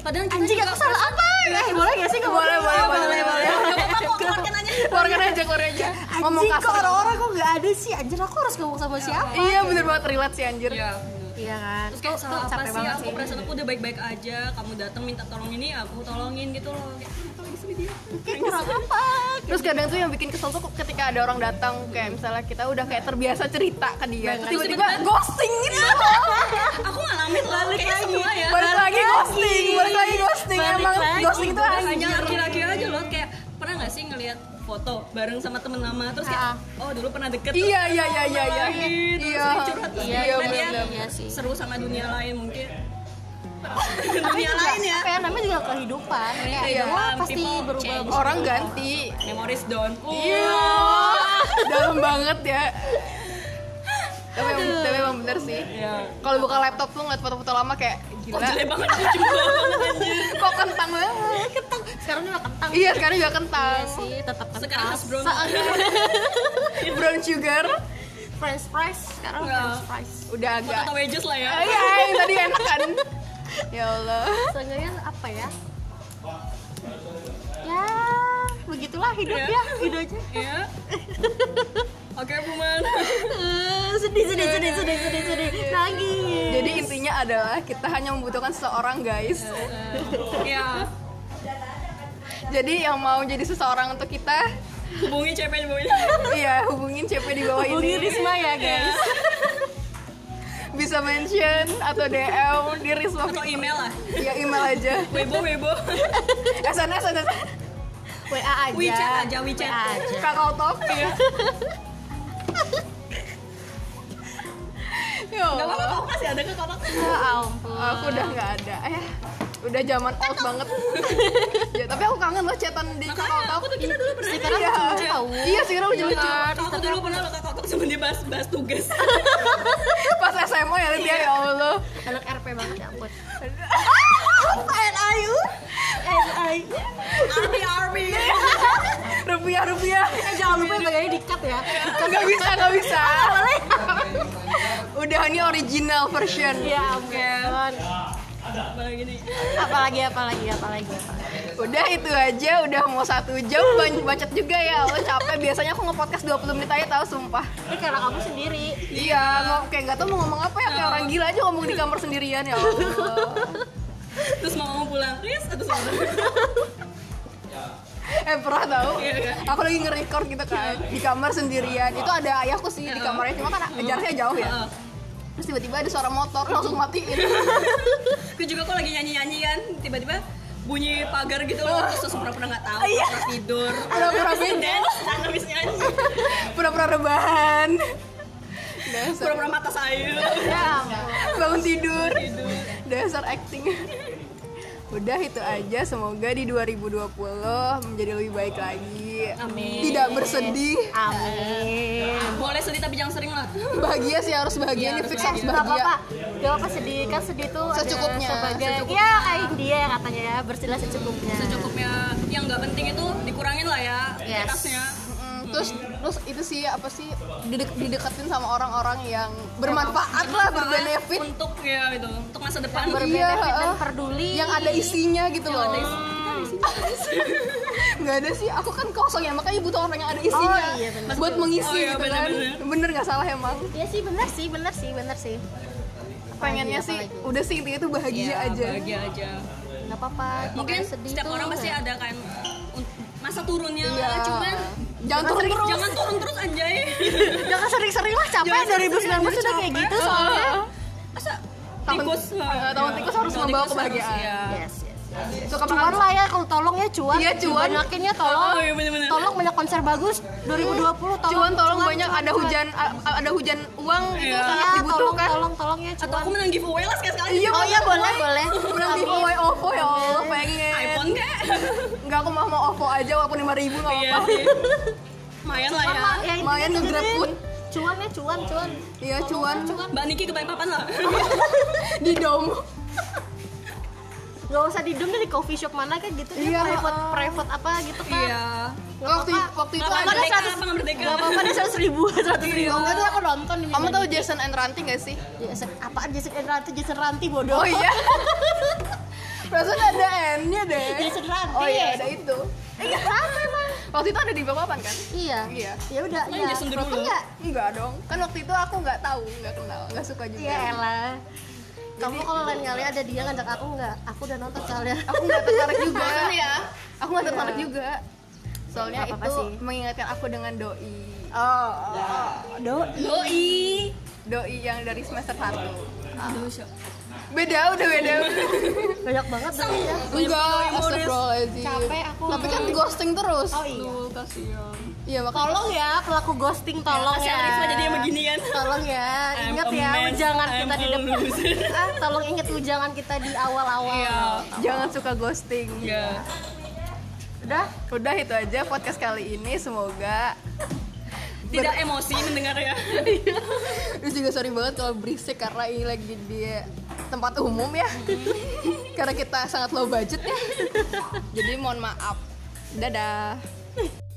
[SPEAKER 4] padahal kita
[SPEAKER 2] anjing aku salah apa ya boleh gak sih gitu? nggak boleh
[SPEAKER 1] boleh, boleh, boleh.
[SPEAKER 4] apa kok keluarkan aja
[SPEAKER 1] keluarkan aja keluarkan aja ngomong
[SPEAKER 2] anjing kok
[SPEAKER 1] kasar
[SPEAKER 2] orang-orang gitu? kok nggak ada sih anjir aku harus ngomong sama siapa
[SPEAKER 1] iya bener banget relate sih anjir
[SPEAKER 4] Iya, bener.
[SPEAKER 2] iya kan
[SPEAKER 4] Ya terus kayak
[SPEAKER 2] Tuh-
[SPEAKER 4] salah
[SPEAKER 2] tuh
[SPEAKER 4] apa
[SPEAKER 2] capek
[SPEAKER 4] sih
[SPEAKER 2] banget
[SPEAKER 4] aku perasaan aku udah baik-baik aja kamu datang minta tolong ini aku tolongin gitu loh kayak kenapa lagi sedih dia
[SPEAKER 2] Kayak kurang apa
[SPEAKER 1] Terus kadang tuh yang bikin kesel tuh ketika ada orang datang kayak misalnya kita udah kayak terbiasa cerita ke dia, terus tiba-tiba ghosting gitu.
[SPEAKER 2] Iya.
[SPEAKER 4] aku ngalamin lah kayaknya semua ya
[SPEAKER 1] balik lagi ghosting, balik lagi ghosting.
[SPEAKER 2] Balik
[SPEAKER 1] Emang
[SPEAKER 4] Iya.
[SPEAKER 2] lagi.
[SPEAKER 1] ghosting itu
[SPEAKER 4] Bukan hanya
[SPEAKER 1] anjir.
[SPEAKER 4] laki-laki aja loh kayak pernah nggak sih ngelihat foto bareng sama temen lama terus kayak oh dulu pernah deket terus
[SPEAKER 1] Ah. Iya, iya, iya, iya, iya.
[SPEAKER 4] lagi, terus
[SPEAKER 1] Iya.
[SPEAKER 4] sering curhat terus
[SPEAKER 1] Iya,
[SPEAKER 4] tiba-tiba
[SPEAKER 1] bener,
[SPEAKER 4] dia
[SPEAKER 1] bener.
[SPEAKER 2] Iya sih.
[SPEAKER 4] seru sama dunia lain mungkin
[SPEAKER 2] tapi
[SPEAKER 4] dunia
[SPEAKER 2] juga
[SPEAKER 4] lain ya
[SPEAKER 2] apa ya namanya juga kehidupan kayak
[SPEAKER 4] Iya,
[SPEAKER 2] wah, pasti
[SPEAKER 4] people
[SPEAKER 2] berubah
[SPEAKER 4] change.
[SPEAKER 1] Orang ganti.
[SPEAKER 4] memories down
[SPEAKER 1] Iya. Dalam banget ya. Tapi emang, tapi emang bener sih.
[SPEAKER 4] Iya.
[SPEAKER 1] Kalau buka laptop tuh ngeliat foto-foto lama kayak
[SPEAKER 4] Kok
[SPEAKER 5] Oh,
[SPEAKER 1] gila.
[SPEAKER 4] jelek banget, lucu banget anjir.
[SPEAKER 1] Kok kentang banget.
[SPEAKER 2] Kentang. sekarang juga kentang
[SPEAKER 1] Iya, sekarang juga kentang.
[SPEAKER 2] Iya sih tetap kentang
[SPEAKER 4] Sekarang harus brown.
[SPEAKER 1] Brown sugar
[SPEAKER 2] french fries sekarang
[SPEAKER 4] Iya.
[SPEAKER 2] french fries
[SPEAKER 1] udah agak
[SPEAKER 4] Foto wedges lah ya.
[SPEAKER 1] Oh iya, yang tadi enak kan? ya Allah.
[SPEAKER 2] Seenggaknya apa ya? Ya, begitulah hidup
[SPEAKER 4] Iya.
[SPEAKER 2] ya,
[SPEAKER 1] gitu
[SPEAKER 2] hidupnya.
[SPEAKER 4] Iya. Oke, Buman.
[SPEAKER 2] Eh, sedih, sedih, sedih, sedih, sedih, sedih. Nangis.
[SPEAKER 1] Jadi intinya adalah kita hanya membutuhkan seseorang guys.
[SPEAKER 4] Iya.
[SPEAKER 1] Jadi yang mau jadi seseorang untuk kita
[SPEAKER 4] hubungi CP di bawah ini.
[SPEAKER 1] iya hubungin CP di bawah
[SPEAKER 5] Hubungi
[SPEAKER 1] ini Iya.
[SPEAKER 5] Risma
[SPEAKER 4] Iya.
[SPEAKER 5] ya guys.
[SPEAKER 1] bisa mention atau DM di Risma
[SPEAKER 4] atau email lah
[SPEAKER 1] ya email aja
[SPEAKER 4] Weibo Weibo
[SPEAKER 1] SNS SNS
[SPEAKER 2] WA
[SPEAKER 1] Iya.
[SPEAKER 2] aja.
[SPEAKER 4] WeChat aja WeChat
[SPEAKER 2] WA aja.
[SPEAKER 1] kakao top ya Ya
[SPEAKER 4] Gak apa-apa
[SPEAKER 1] Allah,
[SPEAKER 4] kok masih ada ke
[SPEAKER 1] Iya,
[SPEAKER 4] kotak
[SPEAKER 2] Ya ampun.
[SPEAKER 1] aku udah nggak ada eh udah zaman old banget ya, tapi aku kangen loh chatan di kakao
[SPEAKER 4] Makanya
[SPEAKER 1] top
[SPEAKER 4] aku tuh kita dulu pernah
[SPEAKER 2] Sekarang
[SPEAKER 1] Iya.
[SPEAKER 2] lucu tahu.
[SPEAKER 1] iya sekarang lucu
[SPEAKER 4] Lucu.
[SPEAKER 1] lucuan
[SPEAKER 4] Aku dulu pernah loh ke kotak cuma dibahas bahas tugas
[SPEAKER 1] pas SMA ya Lydia ya Allah
[SPEAKER 2] Anak RP banget ya ampun.
[SPEAKER 1] NIU
[SPEAKER 4] Army Army
[SPEAKER 1] rupiah rupiah
[SPEAKER 2] Eh jangan lupa bayarnya dikat ya.
[SPEAKER 1] nggak bisa nggak bisa udah ini original version
[SPEAKER 2] Ya ampun.
[SPEAKER 4] Malah gini
[SPEAKER 2] Apalagi apalagi apalagi. apalagi.
[SPEAKER 1] udah itu aja udah mau satu jam banyak bacot juga ya Allah capek biasanya aku nge-podcast 20 menit aja tahu sumpah
[SPEAKER 2] Ini karena kamu sendiri.
[SPEAKER 1] iya nggak kayak nggak tau mau ngomong apa ya kayak orang gila aja ngomong di kamar sendirian ya Allah
[SPEAKER 4] Terus mau pulang Riz atau sebentar
[SPEAKER 1] eh pernah tahu
[SPEAKER 4] Iya, kan?
[SPEAKER 1] aku lagi nge-record gitu kan di kamar sendirian itu ada ayahku sih di kamarnya cuma kan jaraknya jauh ya
[SPEAKER 4] Heeh.
[SPEAKER 1] terus tiba-tiba ada suara motor langsung matiin
[SPEAKER 4] Aku juga kok lagi nyanyi-nyanyi kan Tiba-tiba bunyi pagar gitu loh Terus langsung pernah-pernah gak tau
[SPEAKER 1] Oh. Iya.
[SPEAKER 4] Terus tidur
[SPEAKER 1] Pura-pura
[SPEAKER 4] Terus
[SPEAKER 1] beda.
[SPEAKER 4] dance kan habis nyanyi
[SPEAKER 1] pura-pura rebahan dasar
[SPEAKER 4] Pura-pura Iya. mata sayur
[SPEAKER 1] ya ampun. bangun tidur
[SPEAKER 4] Tidur
[SPEAKER 1] dasar acting udah itu aja semoga di 2020 menjadi lebih baik lagi
[SPEAKER 4] Amin.
[SPEAKER 1] tidak bersedih
[SPEAKER 2] Amin.
[SPEAKER 4] Boleh sedih tapi jangan sering lah
[SPEAKER 1] bahagia sih harus bahagia nih
[SPEAKER 4] Iya, harus
[SPEAKER 1] fix harus
[SPEAKER 4] bahagia.
[SPEAKER 2] Gak apa-apa,
[SPEAKER 1] bahagia
[SPEAKER 2] gak apa sedih, kan sedih tuh ada
[SPEAKER 1] Secukupnya,
[SPEAKER 2] sebagai
[SPEAKER 1] secukupnya.
[SPEAKER 2] Ya kayak dia ya katanya ya, bersilah secukupnya
[SPEAKER 4] Secukupnya yang nggak penting itu dikurangin lah ya
[SPEAKER 2] Yes.
[SPEAKER 4] Ketasnya
[SPEAKER 1] Mm, terus terus itu sih apa sih didek- dideketin sama orang-orang yang bermanfaat lah berbenefit
[SPEAKER 4] Untuk ya itu Untuk masa depan
[SPEAKER 1] Iya,
[SPEAKER 2] Berbenefit dan
[SPEAKER 1] heeh.
[SPEAKER 2] peduli
[SPEAKER 1] yang ada isinya gitu loh
[SPEAKER 4] Ada isi-
[SPEAKER 1] nggak ada sih aku kan kosong ya makanya butuh orang yang ada isinya
[SPEAKER 2] Oh, iya, bener.
[SPEAKER 1] buat mengisi
[SPEAKER 4] Oh, iya,
[SPEAKER 1] gitu kan
[SPEAKER 4] bener-bener.
[SPEAKER 1] bener nggak salah emang
[SPEAKER 2] Iya sih bener sih, bener sih, bener sih
[SPEAKER 1] pengennya sih udah sih intinya tuh bahagia
[SPEAKER 4] Iya,
[SPEAKER 1] aja
[SPEAKER 4] bahagia aja
[SPEAKER 2] Gak apa-apa,
[SPEAKER 4] mungkin
[SPEAKER 2] pokoknya sedih
[SPEAKER 4] setiap
[SPEAKER 2] tuh
[SPEAKER 4] orang pasti ada kan un- masa turunnya
[SPEAKER 1] Iya.
[SPEAKER 4] cuman
[SPEAKER 1] jangan turun terus
[SPEAKER 4] jangan turun terus anjay
[SPEAKER 2] Jangan sering-sering lah, capek
[SPEAKER 4] Jangan sering-sering,
[SPEAKER 2] 2019 sudah kayak
[SPEAKER 4] capek.
[SPEAKER 2] gitu soalnya
[SPEAKER 4] masa
[SPEAKER 1] Tahun-
[SPEAKER 4] tikus Iya.
[SPEAKER 1] eh, tahun tikus harus
[SPEAKER 4] Tahun
[SPEAKER 1] membawa
[SPEAKER 4] tikus harus,
[SPEAKER 1] kebahagiaan.
[SPEAKER 4] iya.
[SPEAKER 2] Yes, yes, yes.
[SPEAKER 1] suka
[SPEAKER 2] Cuan lah ya, kalau tolong ya cuan
[SPEAKER 1] Iya, cuan.
[SPEAKER 2] Banyakin ya tolong
[SPEAKER 4] Oh, iya, bener-bener.
[SPEAKER 2] Tolong banyak konser bagus 2020 tolong
[SPEAKER 1] cuan tolong banyak
[SPEAKER 2] cuan,
[SPEAKER 1] ada
[SPEAKER 2] cuan.
[SPEAKER 1] hujan a- a- ada hujan uang gitu
[SPEAKER 4] Iya.
[SPEAKER 1] sangat
[SPEAKER 2] Iya, tolong,
[SPEAKER 1] dibutuhkan
[SPEAKER 2] tolong, tolong ya
[SPEAKER 4] atau
[SPEAKER 2] cuan
[SPEAKER 4] aku menang giveaway lah sekali sekali
[SPEAKER 1] Iya,
[SPEAKER 2] Oh iya boleh, boleh
[SPEAKER 1] Menang giveaway OVO ya Allah pengen
[SPEAKER 4] iPhone kek
[SPEAKER 1] Enggak aku mau mau OVO aja walaupun 5000 ribu gak
[SPEAKER 4] iya
[SPEAKER 1] apa-apa
[SPEAKER 4] sih lumayan lah ya
[SPEAKER 2] Mama, ya intinya
[SPEAKER 1] Lumayan nge-grab
[SPEAKER 2] dengerin.
[SPEAKER 1] food.
[SPEAKER 2] Cuan ya, cuan, cuan
[SPEAKER 1] Iya cuan
[SPEAKER 4] Mbak Niki kebaik papan lah
[SPEAKER 1] di dom
[SPEAKER 2] Gak usah di dom deh, di coffee shop mana kan gitu
[SPEAKER 1] Iya,
[SPEAKER 2] Dia private,
[SPEAKER 1] heeh.
[SPEAKER 2] private apa gitu kan
[SPEAKER 4] iya
[SPEAKER 1] Waktu waktu itu
[SPEAKER 4] nggak apa-apa
[SPEAKER 1] ada
[SPEAKER 4] merdeka apa nggak merdeka
[SPEAKER 2] Gak apa-apa deh, 100 ribu, 100 ribu Enggak tuh aku nonton di
[SPEAKER 1] Kamu tahu Jason and Ranti gak sih?
[SPEAKER 2] Jason, apaan Jason and Ranti, Jason Ranti bodoh
[SPEAKER 1] Oh iya Perasaan ada N-nya deh
[SPEAKER 2] Jason Ranti
[SPEAKER 1] Oh iya ada itu
[SPEAKER 2] Iya, apa emang?
[SPEAKER 1] Waktu itu ada di bawah papan kan?
[SPEAKER 2] Iya
[SPEAKER 1] Iya.
[SPEAKER 2] Ya udah,
[SPEAKER 4] Main
[SPEAKER 2] iya
[SPEAKER 4] Jason dulu.
[SPEAKER 2] Nonton nggak?
[SPEAKER 1] Enggak dong Kan waktu itu aku nggak tahu, nggak kenal, nggak suka juga
[SPEAKER 2] Iya elah Kamu kalau lain kali ada dia ngajak aku nggak? Aku udah nonton soalnya
[SPEAKER 1] aku nggak tertarik juga Iya.
[SPEAKER 4] Bosen ya?
[SPEAKER 1] aku nggak tertarik juga soalnya
[SPEAKER 2] Nggak apa-apa
[SPEAKER 1] itu
[SPEAKER 2] sih.
[SPEAKER 1] mengingatkan aku dengan doi
[SPEAKER 2] Oh, doi
[SPEAKER 4] doi
[SPEAKER 1] doi yang dari semester 1
[SPEAKER 4] Aduh, syok.
[SPEAKER 1] beda udah beda
[SPEAKER 2] Banyak banget doi ya
[SPEAKER 1] enggak astagfirullahaladzim
[SPEAKER 5] Capek aku.
[SPEAKER 1] tapi kan ghosting terus
[SPEAKER 2] Oh iya
[SPEAKER 4] Aduh, kasihan
[SPEAKER 1] iya makanya
[SPEAKER 2] Tolong ya pelaku ghosting tolong
[SPEAKER 4] Kasihan
[SPEAKER 2] ya.
[SPEAKER 4] Risma jadi yang beginian
[SPEAKER 2] Tolong ya,
[SPEAKER 4] I'm
[SPEAKER 2] ingat
[SPEAKER 4] a
[SPEAKER 2] ya
[SPEAKER 4] mess,
[SPEAKER 2] ujangan
[SPEAKER 4] I'm
[SPEAKER 2] kita di
[SPEAKER 4] a
[SPEAKER 2] depan.
[SPEAKER 4] loser.
[SPEAKER 2] Ah, tolong ingat ujangan kita di awal-awal.
[SPEAKER 4] iya
[SPEAKER 1] jangan suka ghosting
[SPEAKER 4] iya
[SPEAKER 2] Udah,
[SPEAKER 1] udah itu aja podcast kali ini semoga
[SPEAKER 4] tidak emosi mendengar ya
[SPEAKER 1] terus juga sorry banget kalau berisik karena ini lagi di tempat umum ya karena kita sangat low budget ya jadi mohon maaf dadah